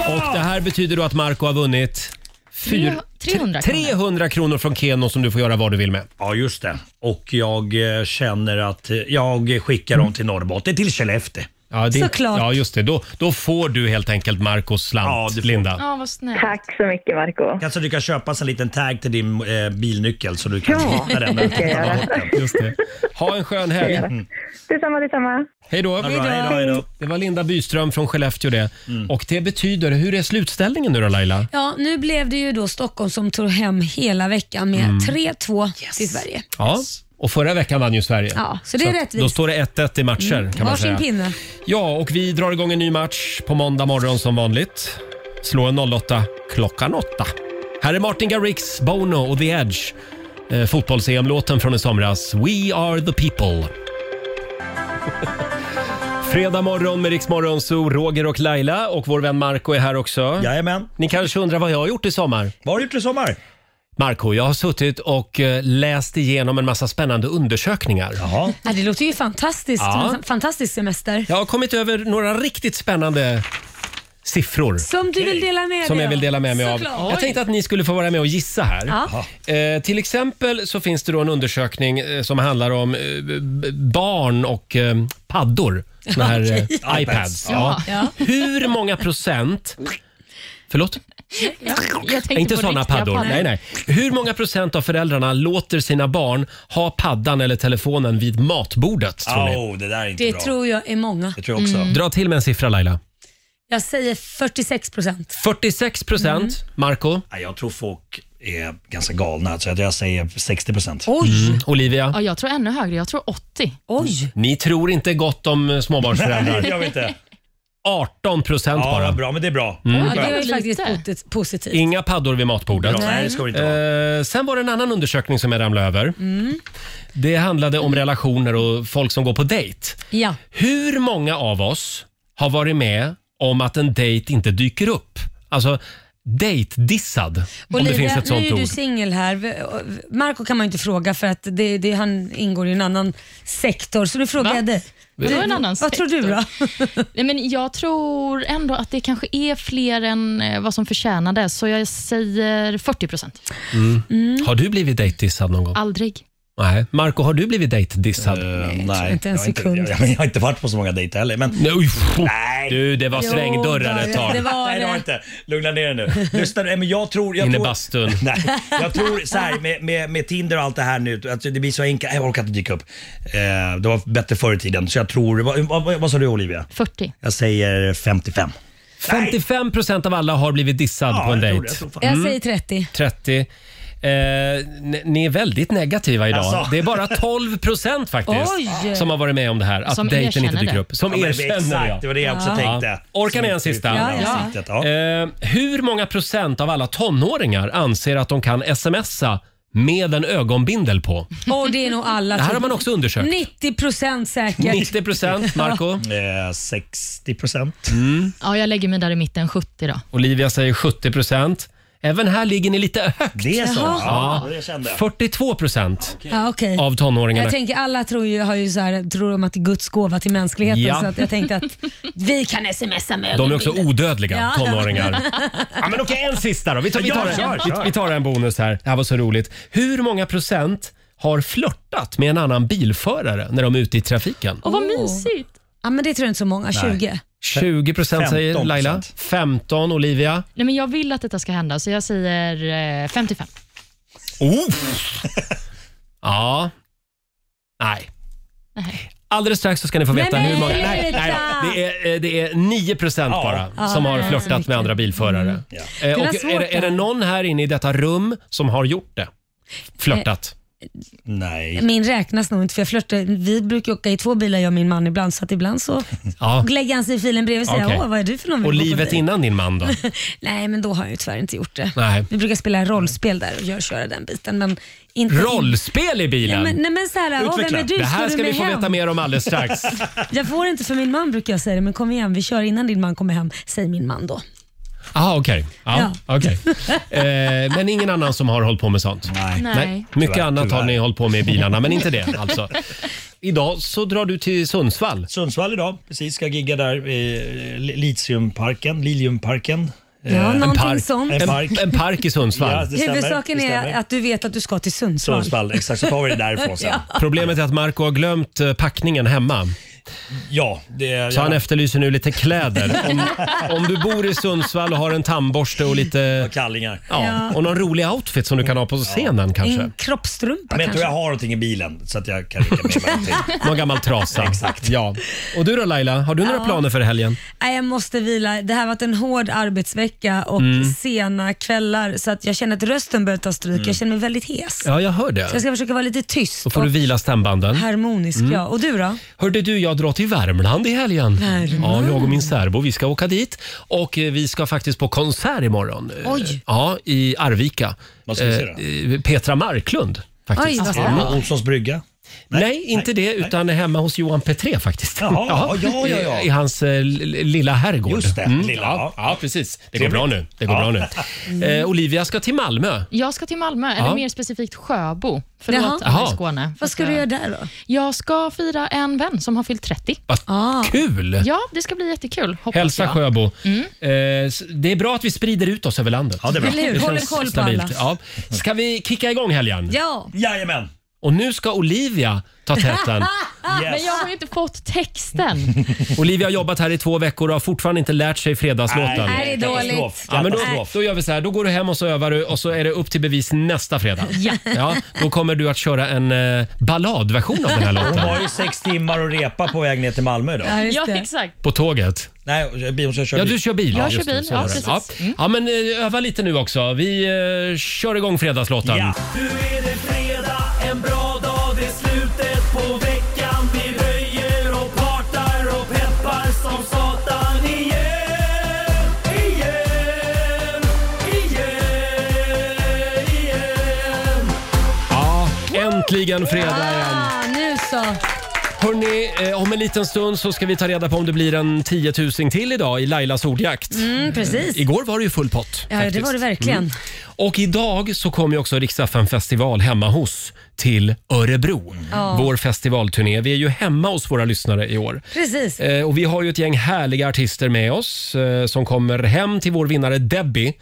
Och det här betyder då att Marco har vunnit fyr- 300 tre- 300 kronor från Keno som du får göra vad du vill med. Ja, just det. Och jag eh, känner att eh, jag skickar dem till Norrbotten, till Skellefteå. Ja, det är- Såklart. Ja, just det. Då, då får du helt enkelt Marcos slant, Linda. Ja, vad snällt. Tack så mycket Marco. Kanske du kan köpa oss en liten tag till din eh, bilnyckel så du kan Ja, hitta den. det ska jag Ta göra. bort den. Just det. Ha en skön helg. Mm. Detsamma, detsamma. Hej då. bra. Hej då. Hej då, hej då. Det var Linda Byström från Skellefteå det. Och det betyder, hur är slutställningen nu då Laila? Ja, nu blev det ju då Stockholm som tog hem hela veckan med Mm. 3-2 till Sverige. Ja. Och förra veckan vann ju Sverige. Ja, så det är att rättvist. Mm. Då står det 1-1 i matcher kan man Varsin säga. pinne. Ja, och vi drar igång en ny match på måndag morgon som vanligt. Slå en 08 klockan 8. Här är Martin Garrix, Bono och The Edge. Eh, Fotbolls-EM-låten från i somras, We Are The People. Fredag morgon med Rix Morgon, så Roger och Laila och vår vän Marco är här också. Jajamän. Ni kanske undrar vad jag har gjort i sommar? Vad har du gjort i sommar? Marco, jag har suttit och eh, läst igenom en massa spännande undersökningar. Ja, det låter ju fantastiskt. Ja. En Fantastisk semester. Jag har kommit över några riktigt spännande siffror. Som du vill dela med som dig jag vill av. dela med mig av. Såklart. Jag tänkte att ni skulle få vara med och gissa här. Ja. Eh, till exempel så finns det då en undersökning eh, som handlar om eh, b- b- barn och eh, paddor. Såna här eh, Okej. iPads. iPads. Ja. Ja. Hur många procent... Förlåt? Jag tänkte Inte på såna riktiga paddor. Nej, nej. Hur många procent av föräldrarna låter sina barn ha paddan eller telefonen vid matbordet? Tror ni? Åh, det där är Det tror jag är många. Mm. Dra till med en siffra Laila. Jag säger 46 procent. 46 procent. Mm. Marco? Jag tror folk är ganska galna, så att jag säger 60 procent. Mm. Olivia? Ja, jag tror ännu högre. Jag tror 80. Oj! Ni tror inte gott om eh, småbarnsföräldrar. Nej, jag vet inte. 18 procent Ja, bara. vad bra, men det är bra. Mm. Ja, det var ju faktiskt posit- positivt. Inga paddor vid matbordet. Bra, nej, det ska vi inte eh, sen var det en annan undersökning som jag ramlade över. Mm. Det handlade om relationer och folk som går på dejt. Ja. Hur många av oss har varit med om att en dejt inte dyker upp? Alltså, dejtdissad, om det finns Olivia, ett nu sånt är ord. du singel här. V- och- v- Marco kan man ju inte fråga för att det, det, han ingår i en annan sektor. Så nu frågar jag dig. Det var en Du- annan Vad tror du då? Nej, men jag tror ändå att det kanske är fler än eh, vad som förtjänades, så jag säger 40 procent. Mm. Har du blivit dejtdissad någon gång? Ah. Aldrig. Nej. Marco, har du blivit dejtdissad? Eh. Eh, nej, inte en jag har sekund. Inte, jag, jag har inte varit på så många dejter heller. Men... Nej, Mm. Du, det var Jo, svängdörrar ett tag. det var Nej, det har jag inte. Lugna ner dig nu. Lyssna, nej, men jag tror... Jag Inne i tror- bastun. Nej, jag tror så här med, med, med Tinder och allt det här nu, alltså, det blir så enkelt. Jag orkar inte dyka upp. Eh, det var bättre förr i tiden, så jag tror... Vad, vad, vad sa du Olivia? 40. Jag säger 55. 55 procent av alla har blivit dissad på en dejt. Jag Mm. säger 30. 30. Eh, ni- ni är väldigt negativa idag. Alltså. Det är bara 12 procent faktiskt Oj. som har varit med om det här. Att Som dejten erkänner inte dyker det. upp. Som Ja, men det- erkänner exakt, ja. det var det jag också Ja. tänkte. Orkar ni Som en sista? Ja, ja. Ansiktet, Eh, hur många procent av alla tonåringar anser att de kan smsa med en ögonbindel på? Och det är nog alla. Det här tror har man också jag. Alltså, undersökt. 90 procent säkert. 90 procent, Marco Eh, 60 procent. Mm. Ja, jag lägger mig där i mitten, 70 då. Olivia säger 70 procent. Även här ligger ni lite högt. Det är så? Jaha. Ja, det kände jag. 42 procent Ja, okej. av tonåringarna. Jag tänker alla tror ju, har ju så här, tror de att det är Guds gåva till mänskligheten. Ja. Så att jag tänkte att vi kan smsa med De är också ögonbilden. odödliga, Ja. tonåringar. Ja, men okej, en sista då. Vi tar, vi, Ja, tar, kör, vi, kör. vi tar en bonus här. Det här var så roligt. Hur många procent har flörtat med en annan bilförare när de är ute i trafiken? Åh, vad Oh. mysigt. Ja, men det tror jag inte så många. 20. 20 procent säger 15%. Laila. 15 Olivia. Nej, men jag vill att detta ska hända, så jag säger eh, 55. Oh. Ja. Nej. Alldeles strax så ska ni få veta Nej, hur många... men Nej, sluta! nej, då. det, är, eh, det är 9 procent Ja. bara Ja, som har nej, flörtat med andra bilförare. Mm. Det Eh, var och svårt är, det- är det det här. någon här inne i detta rum som har gjort det? Flörtat? Eh, Nej. Min räknas nog inte för jag flörtar. Vi brukar åka i två bilar jag och min man ibland så att ibland så Ja. lägger han sig i filen bredvid och säger Okej. åh vad är du för någon? Och Vi går på livet dejt." innan din man då? Nej men då har jag ju tyvärr inte gjort det. Nej. Vi brukar spela rollspel där och gör, köra den biten. Men inte Rollspel i bilen? Nej men, nej, men så här, åh, vem är du? Det här du ska vi med få hem?" veta mer om alldeles strax. Jag får inte för min man brukar jag säga det, men kom igen vi kör innan din man kommer hem, säger min man då. Jaha, okej. Ja, Ja. okej. Eh, men ingen annan som har hållit på med sånt? Nej. Nej. Mycket Tyvärr, annat har tyvärr. ni hållit på med i bilarna, men inte det alltså. Idag så drar du till Sundsvall. Sundsvall idag, precis. Ska gigga där i eh, Litiumparken, Liliumparken. Ja, någonting sånt. En park. En, en park i Sundsvall. Ja, det stämmer. Huvudsaken Det är stämmer. att du vet att du ska till Sundsvall. Sundsvall, exakt. Så tar vi det därifrån sen. Ja. Problemet är att Marco har glömt eh, packningen hemma. Ja, det... Så han ja. efterlyser nu lite kläder. Om, om du bor i Sundsvall och har en tandborste och lite... Och kallingar. Ja, Ja. och någon rolig outfit som du kan ha på scenen kanske. En kroppstrumpa Men jag kanske. tror jag har någonting i bilen så att jag kan rycka med mig någonting. Någon gammal trasa. Exakt. Ja. Och du då Laila, har du några Ja. planer för helgen? Nej, jag måste vila. Det här har varit en hård arbetsvecka och Mm. sena kvällar så att jag känner att rösten börjar ta stryk. Jag känner mig väldigt hes. Mm. Ja, jag hör Så jag det. ska försöka vara lite tyst Då får du och vila stämbanden. harmonisk. Mm. Ja. Och du då? Hörde du, jag drar till Värmland i helgen. Värmland? Ja, jag och min särbo, vi ska åka dit. Och eh, vi ska faktiskt på konsert imorgon. Eh, Oj. Ja, i Arvika. Vad ska vi se Eh, Petra Marklund. Faktiskt. Oj, vad spännande. Är det Olssons brygga? Nej, inte det, utan hemma hos Johan Petré faktiskt. Jaha, ja, ja, ja. I, I hans eh, l- lilla herrgård. Just det, Mm, lilla, Ja, ja. ja, precis. Det går Trevligt. bra nu. Det går Ja. Mm. bra nu. Eh, Olivia ska till Malmö. Jag ska till Malmö, Ja. eller mer specifikt Sjöbo. Jaha. Förlåt, alla Jaha. i Skåne. Vad ska du göra där då? Jag ska fira en vän som har fyllt 30. Vad Ah. kul! Ja, det ska bli jättekul. Hoppas Hälsa jag. Sjöbo. Mm. Eh, s- det är bra att vi sprider ut oss över landet. Ja, det är bra. Eller hur? Håller koll på alla. Ja. Ska vi kicka igång helgen? Ja. Jajamän! Och nu ska Olivia ta täten. Men jag har ju inte fått texten. Olivia har jobbat här i två veckor och har fortfarande inte lärt sig fredagslåten. Nej, det är dåligt. Katastrof. Ja, men då, Katastrof. då gör vi så här, då går du hem och så övar du och så är det upp till bevis nästa fredag. Ja. då kommer du att köra en eh, balladversion av den här Hon låten. var ju sex timmar och repa på väg ner till Malmö idag. ja, exakt. På tåget. Nej, bilen ska jag köra Ja, bil. du kör bil. Jag Ja, kör just det, bil, så ja, var det. precis. Mm. Ja. ja, men eh, öva lite nu också. Vi eh, kör igång fredagslåten. Ja. Nu är det fredag, en bra dag, det är slutet på veckan. Vi röjer och partar och peppar som satan igen. Igen, igen, igen. Ja, äntligen fredag igen. Ah, nu så. Hörrni, eh, om en liten stund så ska vi ta reda på om det blir en 10 000 till idag i Lailas ordjakt. Mm, precis. Eh, Mm. Igår var det ju full pott. Ja, det var det verkligen. Och idag så kommer ju också Riksdagen festival hemma hos till Örebro. Ja. Vår festivalturné. Vi är ju hemma hos våra lyssnare i år. Precis. Eh, och vi har ju ett gäng härliga artister med oss eh, som kommer hem till vår vinnare Debbie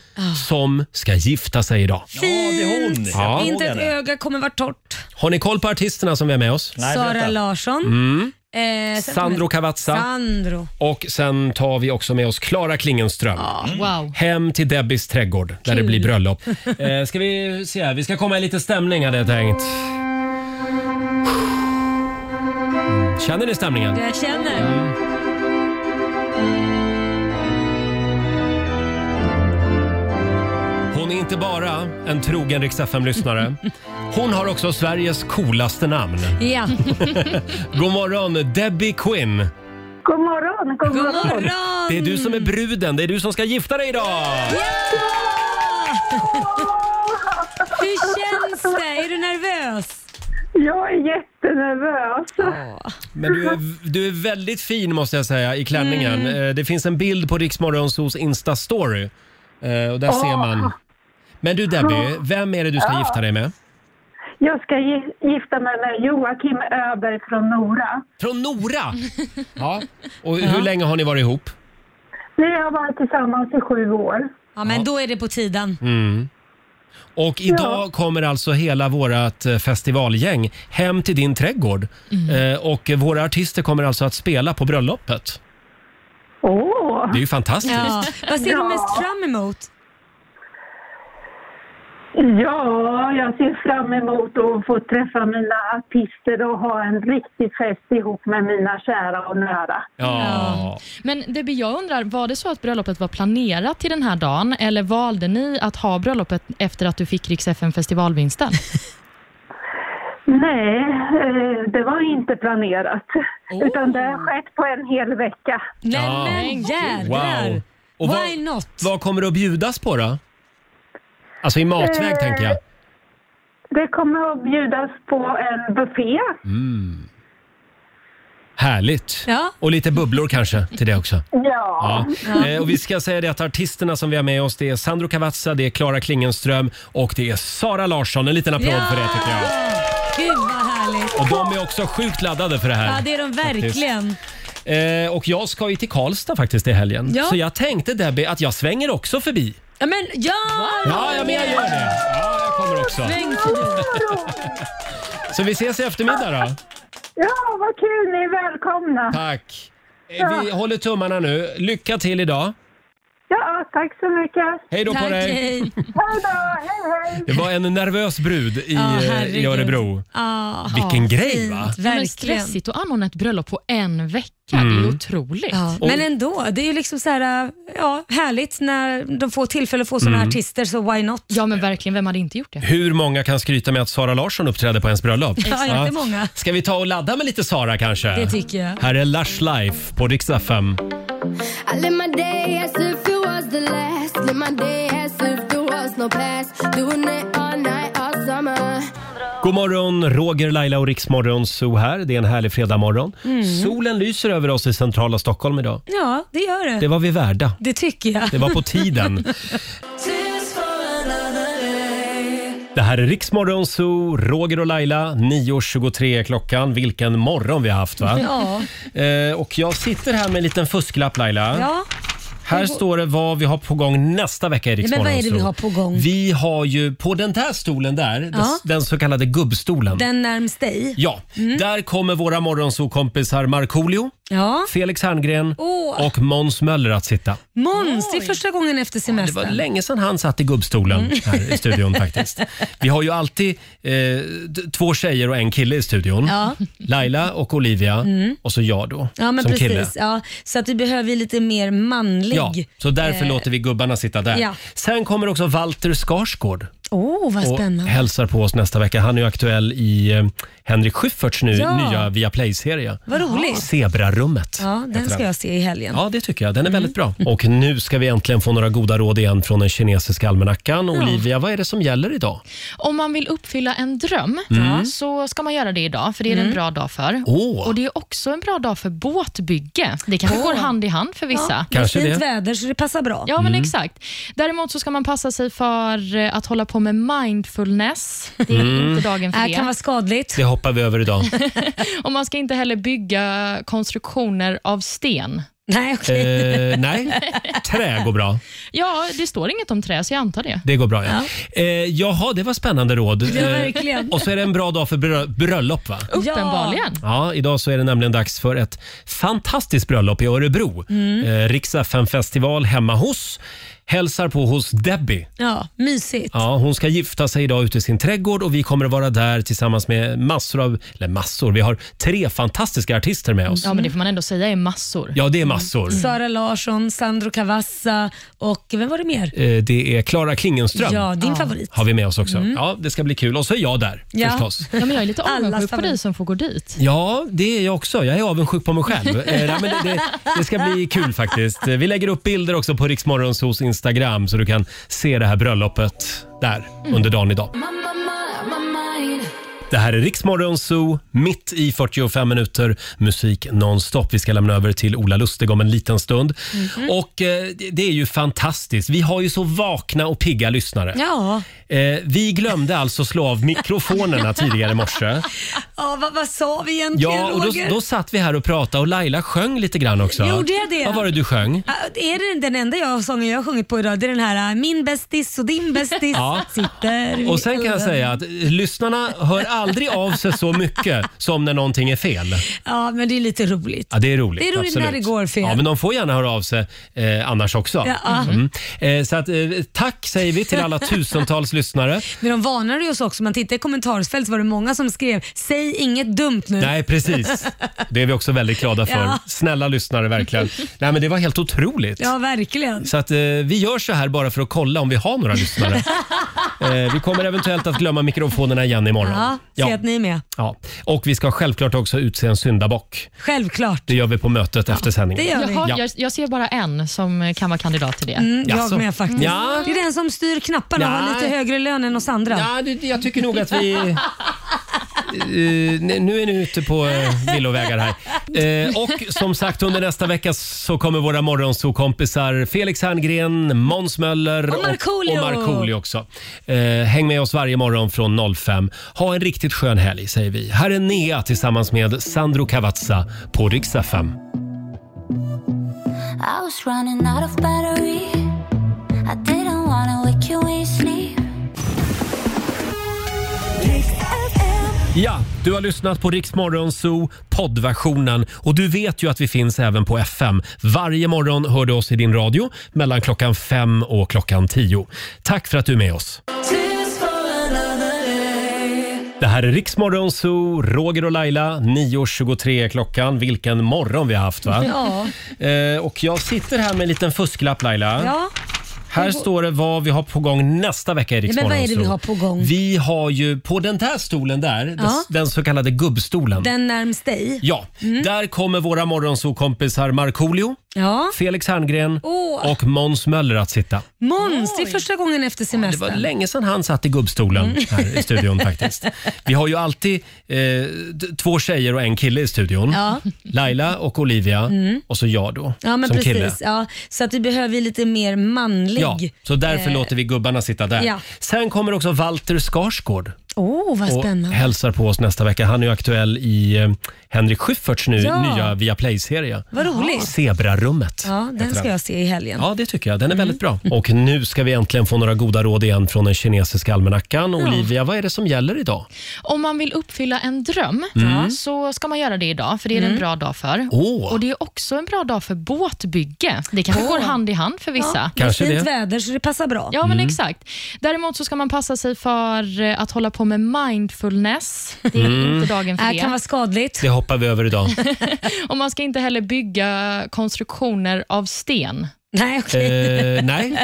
som ska gifta sig idag. Fint. Ja. Inte ett öga kommer vara torrt. Har ni koll på artisterna som vi har med oss? Sara Larsson. Mm. Eh, sen- Sandro Cavazza. Sandro. Och sen tar vi också med oss Klara Klingenström. Mm. Wow. Hem till Debbies trädgård där det Kul. blir bröllop. Eh, ska vi se här, vi ska komma i lite stämning hade jag tänkt. Känner ni stämningen? Jag känner. Hon är inte bara en trogen Rix lyssnare Hon har också Sveriges coolaste namn. Ja. God morgon Debbie Quinn! God morgon, god morgon. Det är du som är bruden, det är du som ska gifta dig idag! Hur känns det? Är du nervös? Jag är jättenervös. Men du är, du är väldigt fin måste jag säga i klänningen. Eh, Det finns en bild på Riksmorgonsos Insta-story. Eh, Och där ser man. Men du Debbie, vem är det du ska gifta dig med? Jag ska gi- gifta mig med Joakim Öberg från Nora. Från Nora? Ja. Och hur länge har ni varit ihop? Vi har varit tillsammans i sju år. Ja, men då är det på tiden. Mm. Och idag kommer alltså hela vårt festivalgäng hem till din trädgård. Eh, Och våra artister kommer alltså att spela på bröllopet. Åh! Det är ju fantastiskt. Ja. Vad ser du mest fram emot? Ja, jag ser fram emot att få träffa mina artister och ha en riktig fest ihop med mina kära och nära. Ja. Men Debbie, jag undrar, var det så att bröllopet var planerat till den här dagen eller valde ni att ha bröllopet efter att du fick Rix FM festivalvinsten? Nej, eh, det var inte planerat. Utan det har skett på en hel vecka. Ja. Men jädrar. Wow. Why not? Vad kommer det att bjudas på då? Alltså i matväg Eh, tänker jag. Det kommer att bjudas på en buffé. Mm. Härligt. Ja. Och lite bubblor kanske till det också. Ja. Ja. Eh, och vi ska säga det att artisterna som vi har med oss det är Sandro Cavazza, det är Klara Klingenström och det är Sara Larsson. En liten applåd Ja. för det tycker jag. Gud vad härligt. Och de är också sjukt laddade för det här. Ja, det är de verkligen. Eh, och jag ska ju till Karlstad faktiskt i helgen. Ja. Så jag tänkte Debbie att jag svänger också förbi. Ja, men ja! Ja, ja, men jag gör det. Ja, jag kommer också. Sväng förbi. Så vi ses i eftermiddag då. Ja, vad kul! Ni är välkomna. Tack! Eh, Vi Ah. Ja. håller tummarna nu. Lycka till idag! Ja, tack så mycket. Hej då på Tack, dig. hej. Hej då! Hej, hej! Det var en nervös brud i, Ja, eh, herregud. i Örebro. Vilken grej va? Ja, Men stressigt att anordna ett bröllop på en vecka. Det är ju Mm. otroligt. Ja, men ändå, det är ju liksom så här, ja, härligt när de får tillfälle att få sådana Mm. artister, så why not? Ja men verkligen, vem hade inte gjort det? Hur många kan skryta med att Sara Larsson uppträdde på ens bröllop? Ja, inte många. Ska vi ta och ladda med lite Sara kanske? Det tycker jag. Här är Lush Life på Rix FM. I live my day as if it was the last. Live my day as if there was no past. Doing it all night, all summer. God morgon, Roger, Laila och Riksmorgon Zoo här. Det är en härlig fredagmorgon. Mm. Solen lyser över oss i centrala Stockholm idag. Ja, det gör det. Det var vi värda. Det tycker jag. Det var på tiden. Det här är Riksmorgon Zoo, Roger och Laila. 9.23 är klockan. Vilken morgon vi har haft va? Ja. Eh, och jag sitter här med en liten fusklapp Laila. Ja. Här står det vad vi har på gång nästa vecka i Ja, Rix Men vad är det Morgonzoo. vi har på gång? Vi har ju på den där stolen där, den- Ja. den så kallade gubbstolen. Den Mm. närmst dig? Ja, där kommer våra morgonsokompisar Markoolio, Ja. Felix Herngren Åh. och Måns Möller att sitta. Måns, det är första gången efter Det var semestern. länge sedan han satt i gubbstolen Mm. här i studion faktiskt. Vi har ju alltid eh, d- två tjejer och en kille i studion. Ja. Laila och Olivia Mm. och så jag då Ja, men som kille. precis. Ja, så att vi behöver ju lite mer manlig. Ja, så därför eh, låter vi gubbarna sitta där. ja. Sen kommer också Walter Skarsgård Åh, vad och spännande. hälsar på oss nästa vecka. Han är ju aktuell i eh, Henrik Schyfferts nu, Ja. nya Viaplay-serie. Vad roligt. Zebrarummet. Ja, den heter ska den. jag se i helgen. Ja, det tycker jag. Den är väldigt bra. Och nu ska vi äntligen få några goda råd igen från den kinesiska almanackan. Olivia, vad är det som gäller idag? Om man vill uppfylla en dröm Mm. så ska man göra det idag, för det är en Mm. bra dag för. Åh. Och Det är också en bra dag för båtbygge. Det kanske Åh. går hand i hand för vissa. Ja, det är fint väder så det passar bra. Ja, Mm. men exakt. Däremot så ska man passa sig för eh, att hålla på med mindfulness. Det är Mm. inte dagen för Äh, det. kan vara skadligt. Det hoppar vi över idag. Och man ska inte heller bygga konstruktioner av sten. Nej, Eh, nej, trä går bra. Ja, det står inget om trä, så jag antar det. Det går bra, ja. Eh, jaha, det var spännande råd. Ja, Eh, verkligen. och så är det en bra dag för brö- bröllop, va? Uppenbarligen. Ja, idag så är det nämligen dags för ett fantastiskt bröllop i Örebro. Mm. Eh, Riksdagen festival hemma hos. Hälsar på hos Debbie. Ja, mysigt. Ja, hon ska gifta sig idag ute i sin trädgård och vi kommer att vara där tillsammans med massor av, eller massor, vi har tre fantastiska artister med oss. Ja, men det får man ändå säga är massor. Ja, det är massor. Sara Larsson, Sandro Cavazza och vem var det mer? Eh, Det är Klara Klingenström. Ja, din favorit. Har vi med oss också. Ja, det ska bli kul. Och så är jag där förstås. Ja, men jag är lite Allas avundsjuk på favorit. dig som får gå dit. Ja, det är jag också. Jag är avundsjuk på mig själv. Eh, nej, men det, det, det ska bli kul faktiskt. Eh, Vi lägger upp bilder också på Riksmorgonsos Instagram så du kan se det här bröllopet där under dagen idag. Det här är Riksmorgonso, mitt i 45 minuter musik nonstop. Vi ska lämna över till Ola Lustig om en liten stund. Och eh, det- Det är ju fantastiskt. Vi har ju så vakna och pigga lyssnare. Ja, Eh, vi glömde alltså slå av mikrofonerna tidigare i morse. ja vad, vad sa vi egentligen Ja, och då, Roger? då satt vi här och pratade och Laila sjöng lite grann också. Gjorde jag det? Vad var det du sjöng? Ah, Är det den enda jag, sången jag har sjungit på idag? Det är den här ah, “Min bästis och din bästis Ja. sitter i Och sen kan jag elden." säga att eh, lyssnarna hör aldrig av sig så mycket som när någonting är fel. Ja, men det är lite roligt. Ja, det är roligt. Det är roligt absolut. när det går fel. Ja, men de får gärna höra av sig eh, annars också. Ja. Eh, så att, eh, tack säger vi till alla tusentals lyssnare. Men de varnade ju oss också. Man tittar i kommentarsfältet så var det många som skrev “Säg inget dumt nu”. Nej, precis. Det är vi också väldigt glada för. Ja. Snälla lyssnare, verkligen. Nej, men det var helt otroligt. ja, verkligen. Så att, eh, vi gör så här bara för att kolla om vi har några lyssnare. eh, vi kommer eventuellt att glömma mikrofonerna igen imorgon. Ja, se att ni är med. ja. Och vi ska självklart också utse en syndabock. Självklart. Det gör vi på mötet efter sändningen. Jaha, Ja. jag, jag ser bara en som kan vara kandidat till det. Mm, Jaså? jag med faktiskt. Ja. Det är den som styr knapparna och har Nej. lite högre lön än oss andra. Ja, jag tycker nog att vi... Eh, nej, nu är ni ute på eh, villovägar här. Eh, och som sagt, under nästa vecka så kommer våra morgonsokompisar Felix Herngren, Måns Möller Och Markoolio. och Markoolio också. Eh, häng med oss varje morgon från 05. Ha en riktigt skön helg, säger vi. Här är Nea tillsammans med Sandro Cavazza på Rix FM. I was running out of battery. I didn't wanna wake you when you sleep. Mix FM. Ja, du har lyssnat på Rix Morgon Zoo poddversionen och du vet ju att vi finns även på FM. Varje morgon hör du oss i din radio mellan klockan fem och klockan tio. Tack för att du är med oss. Det här är Rix Morgon Zoo, Roger och Laila, 9.23 är klockan. Vilken morgon vi har haft va? Ja. Eh, och jag sitter här med en liten fusklapp Laila. Ja. Här står det vad vi har på gång nästa vecka i Ja, Rix men vad är Morgon det vi Zoo. har på gång? Vi har ju på den där stolen där, Ja. den så kallade gubbstolen. Den närmst dig? Ja, där kommer våra morgonsokompisar Markoolio, Ja. Felix Herngren Åh. och Måns Möller att sitta. Måns, det är första gången efter Det var semestern. länge sedan han satt i gubbstolen Mm. här i studion faktiskt. Vi har ju alltid eh, d- två tjejer och en kille i studion. Ja. Laila och Olivia Mm. och så jag då Ja, men som kille. precis. Ja, så att vi behöver ju lite mer manlig. Ja, så därför eh, låter vi gubbarna sitta där. ja. Sen kommer också Walter Skarsgård Åh, Oh, vad och spännande. hälsar på oss nästa vecka. Han är ju aktuell i eh, Henrik Schyfferts nu, Ja. nya Viaplay-serie. Vad roligt. Zebrarummet. Ja, den heter ska jag se i helgen. Ja, det tycker jag. Den är Mm. väldigt bra. Och nu ska vi äntligen få några goda råd igen från den kinesiska almanackan. Olivia, vad är det som gäller idag? Om man vill uppfylla en dröm Mm. så ska man göra det idag, för det är det en Mm. bra dag för. Åh. Och Det är också en bra dag för båtbygge. Det kanske Åh. går hand i hand för vissa. Ja, Kanske det är fint det. väder så det passar bra. Ja, men Mm. exakt. Däremot så ska man passa sig för eh, att hålla på med mindfulness. Det är Mm. inte dagen för Äh, det. kan vara skadligt. Det hoppar vi över idag. och man ska inte heller bygga konstruktioner av sten. Nej, Eh, nej,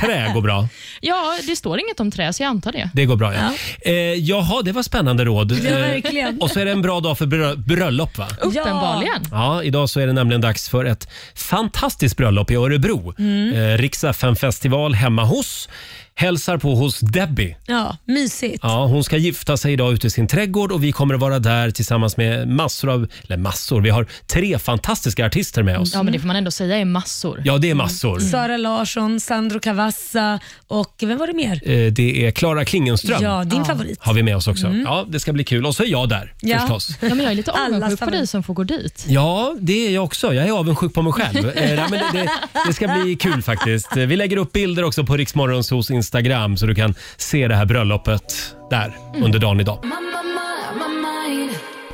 trä går bra. Ja, det står inget om trä, så jag antar det. Det går bra, ja. Eh, jaha, det var spännande råd. Ja, Eh, verkligen. och så är det en bra dag för brö- bröllop, va? Uppenbarligen. Ja, idag så är det nämligen dags för ett fantastiskt bröllop i Örebro. Mm. Eh, Rix festival hemma hos. Hälsar på hos Debbie. Ja, mysigt. Ja, hon ska gifta sig idag ute i sin trädgård och vi kommer att vara där tillsammans med massor av, eller massor, vi har tre fantastiska artister med oss. Ja, Mm. men det får man ändå säga är massor. Ja, det är massor. Sara Larsson, Sandro Cavazza och vem var det mer? Eh, Det är Klara Klingenström. Ja, din Ja. favorit. Har vi med oss också. Ja, det ska bli kul. Och så är jag där förstås. Mm. Ja, men jag är lite Allas avundsjuk på favorit. dig som får gå dit. Ja, det är jag också. Jag är avundsjuk på mig själv. Eh, nej, men det, det, det ska bli kul faktiskt. Eh, Vi lägger upp bilder också på Riksmorgons hos Instagram så du kan se det här bröllopet där Mm. under dagen idag.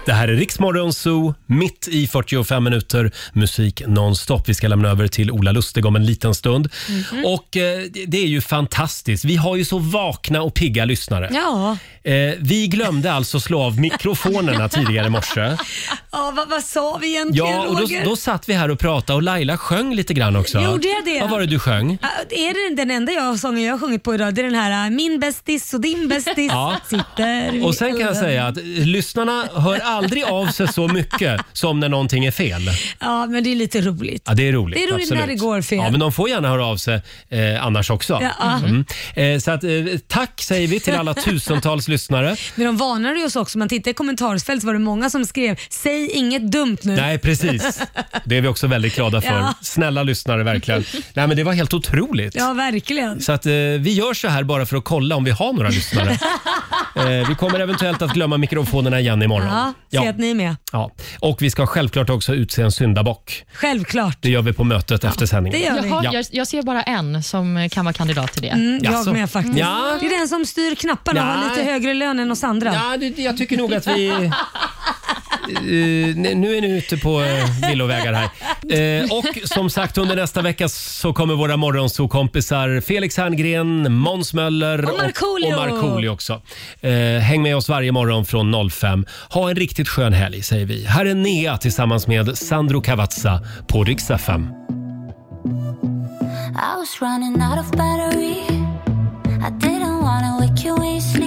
Det här är Riksmorgon Zoo, mitt i 45 minuter musik nonstop. Vi ska lämna över till Ola Lustig om en liten stund. Mhm. Och eh, det- Det är ju fantastiskt. Vi har ju så vakna och pigga lyssnare. Ja, Eh, vi glömde alltså slå av mikrofonerna tidigare i morse. ja vad, vad sa vi egentligen Ja, och då, Roger? då satt vi här och pratade och Laila sjöng lite grann också. Gjorde jag det? Vad var det du sjöng? Ah, Är det den enda jag, sången jag har sjungit på idag? Det är den här ah, “Min bästis och din bästis Ja. sitter vid Och sen kan jag elden." säga att eh, lyssnarna hör aldrig av sig så mycket som när någonting är fel. Ja, men det är lite roligt. Ja, det är roligt. Det är roligt när absolut. det går fel. Ja, men de får gärna höra av sig eh, annars också. Ja. Eh, så att, eh, tack säger vi till alla tusentals lyssnare. Men de varnade ju oss också. Man tittar i kommentarsfält så var det många som skrev “Säg inget dumt nu”. Nej, precis. Det är vi också väldigt glada för. Ja. Snälla lyssnare, verkligen. Nej, men det var helt otroligt. Ja, verkligen. Så att, eh, vi gör så här bara för att kolla om vi har några lyssnare. eh, vi kommer eventuellt att glömma mikrofonerna igen imorgon. Ja, se ja. att ni är med. ja. Och vi ska självklart också utse en syndabock. Självklart. Det gör vi på mötet efter sändningen. Jaha, Ja. jag, jag ser bara en som kan vara kandidat till det. Mm, jag Jaså? med faktiskt. Ja. Det är den som styr knapparna och har Nej. lite högre lön än oss andra. Ja, jag tycker nog att vi... Eh, n- nu är ni ute på eh, villovägar här. Eh, och som sagt, under nästa vecka så kommer våra morgonsokompisar Felix Herngren, Måns Möller Och Markoolio. och, och Markoolio också. Eh, häng med oss varje morgon från 05. Ha en riktigt skön helg säger vi. Här är Nea tillsammans med Sandro Cavazza på Rix FM. I was running out of battery. I didn't wanna wake you when you sleep.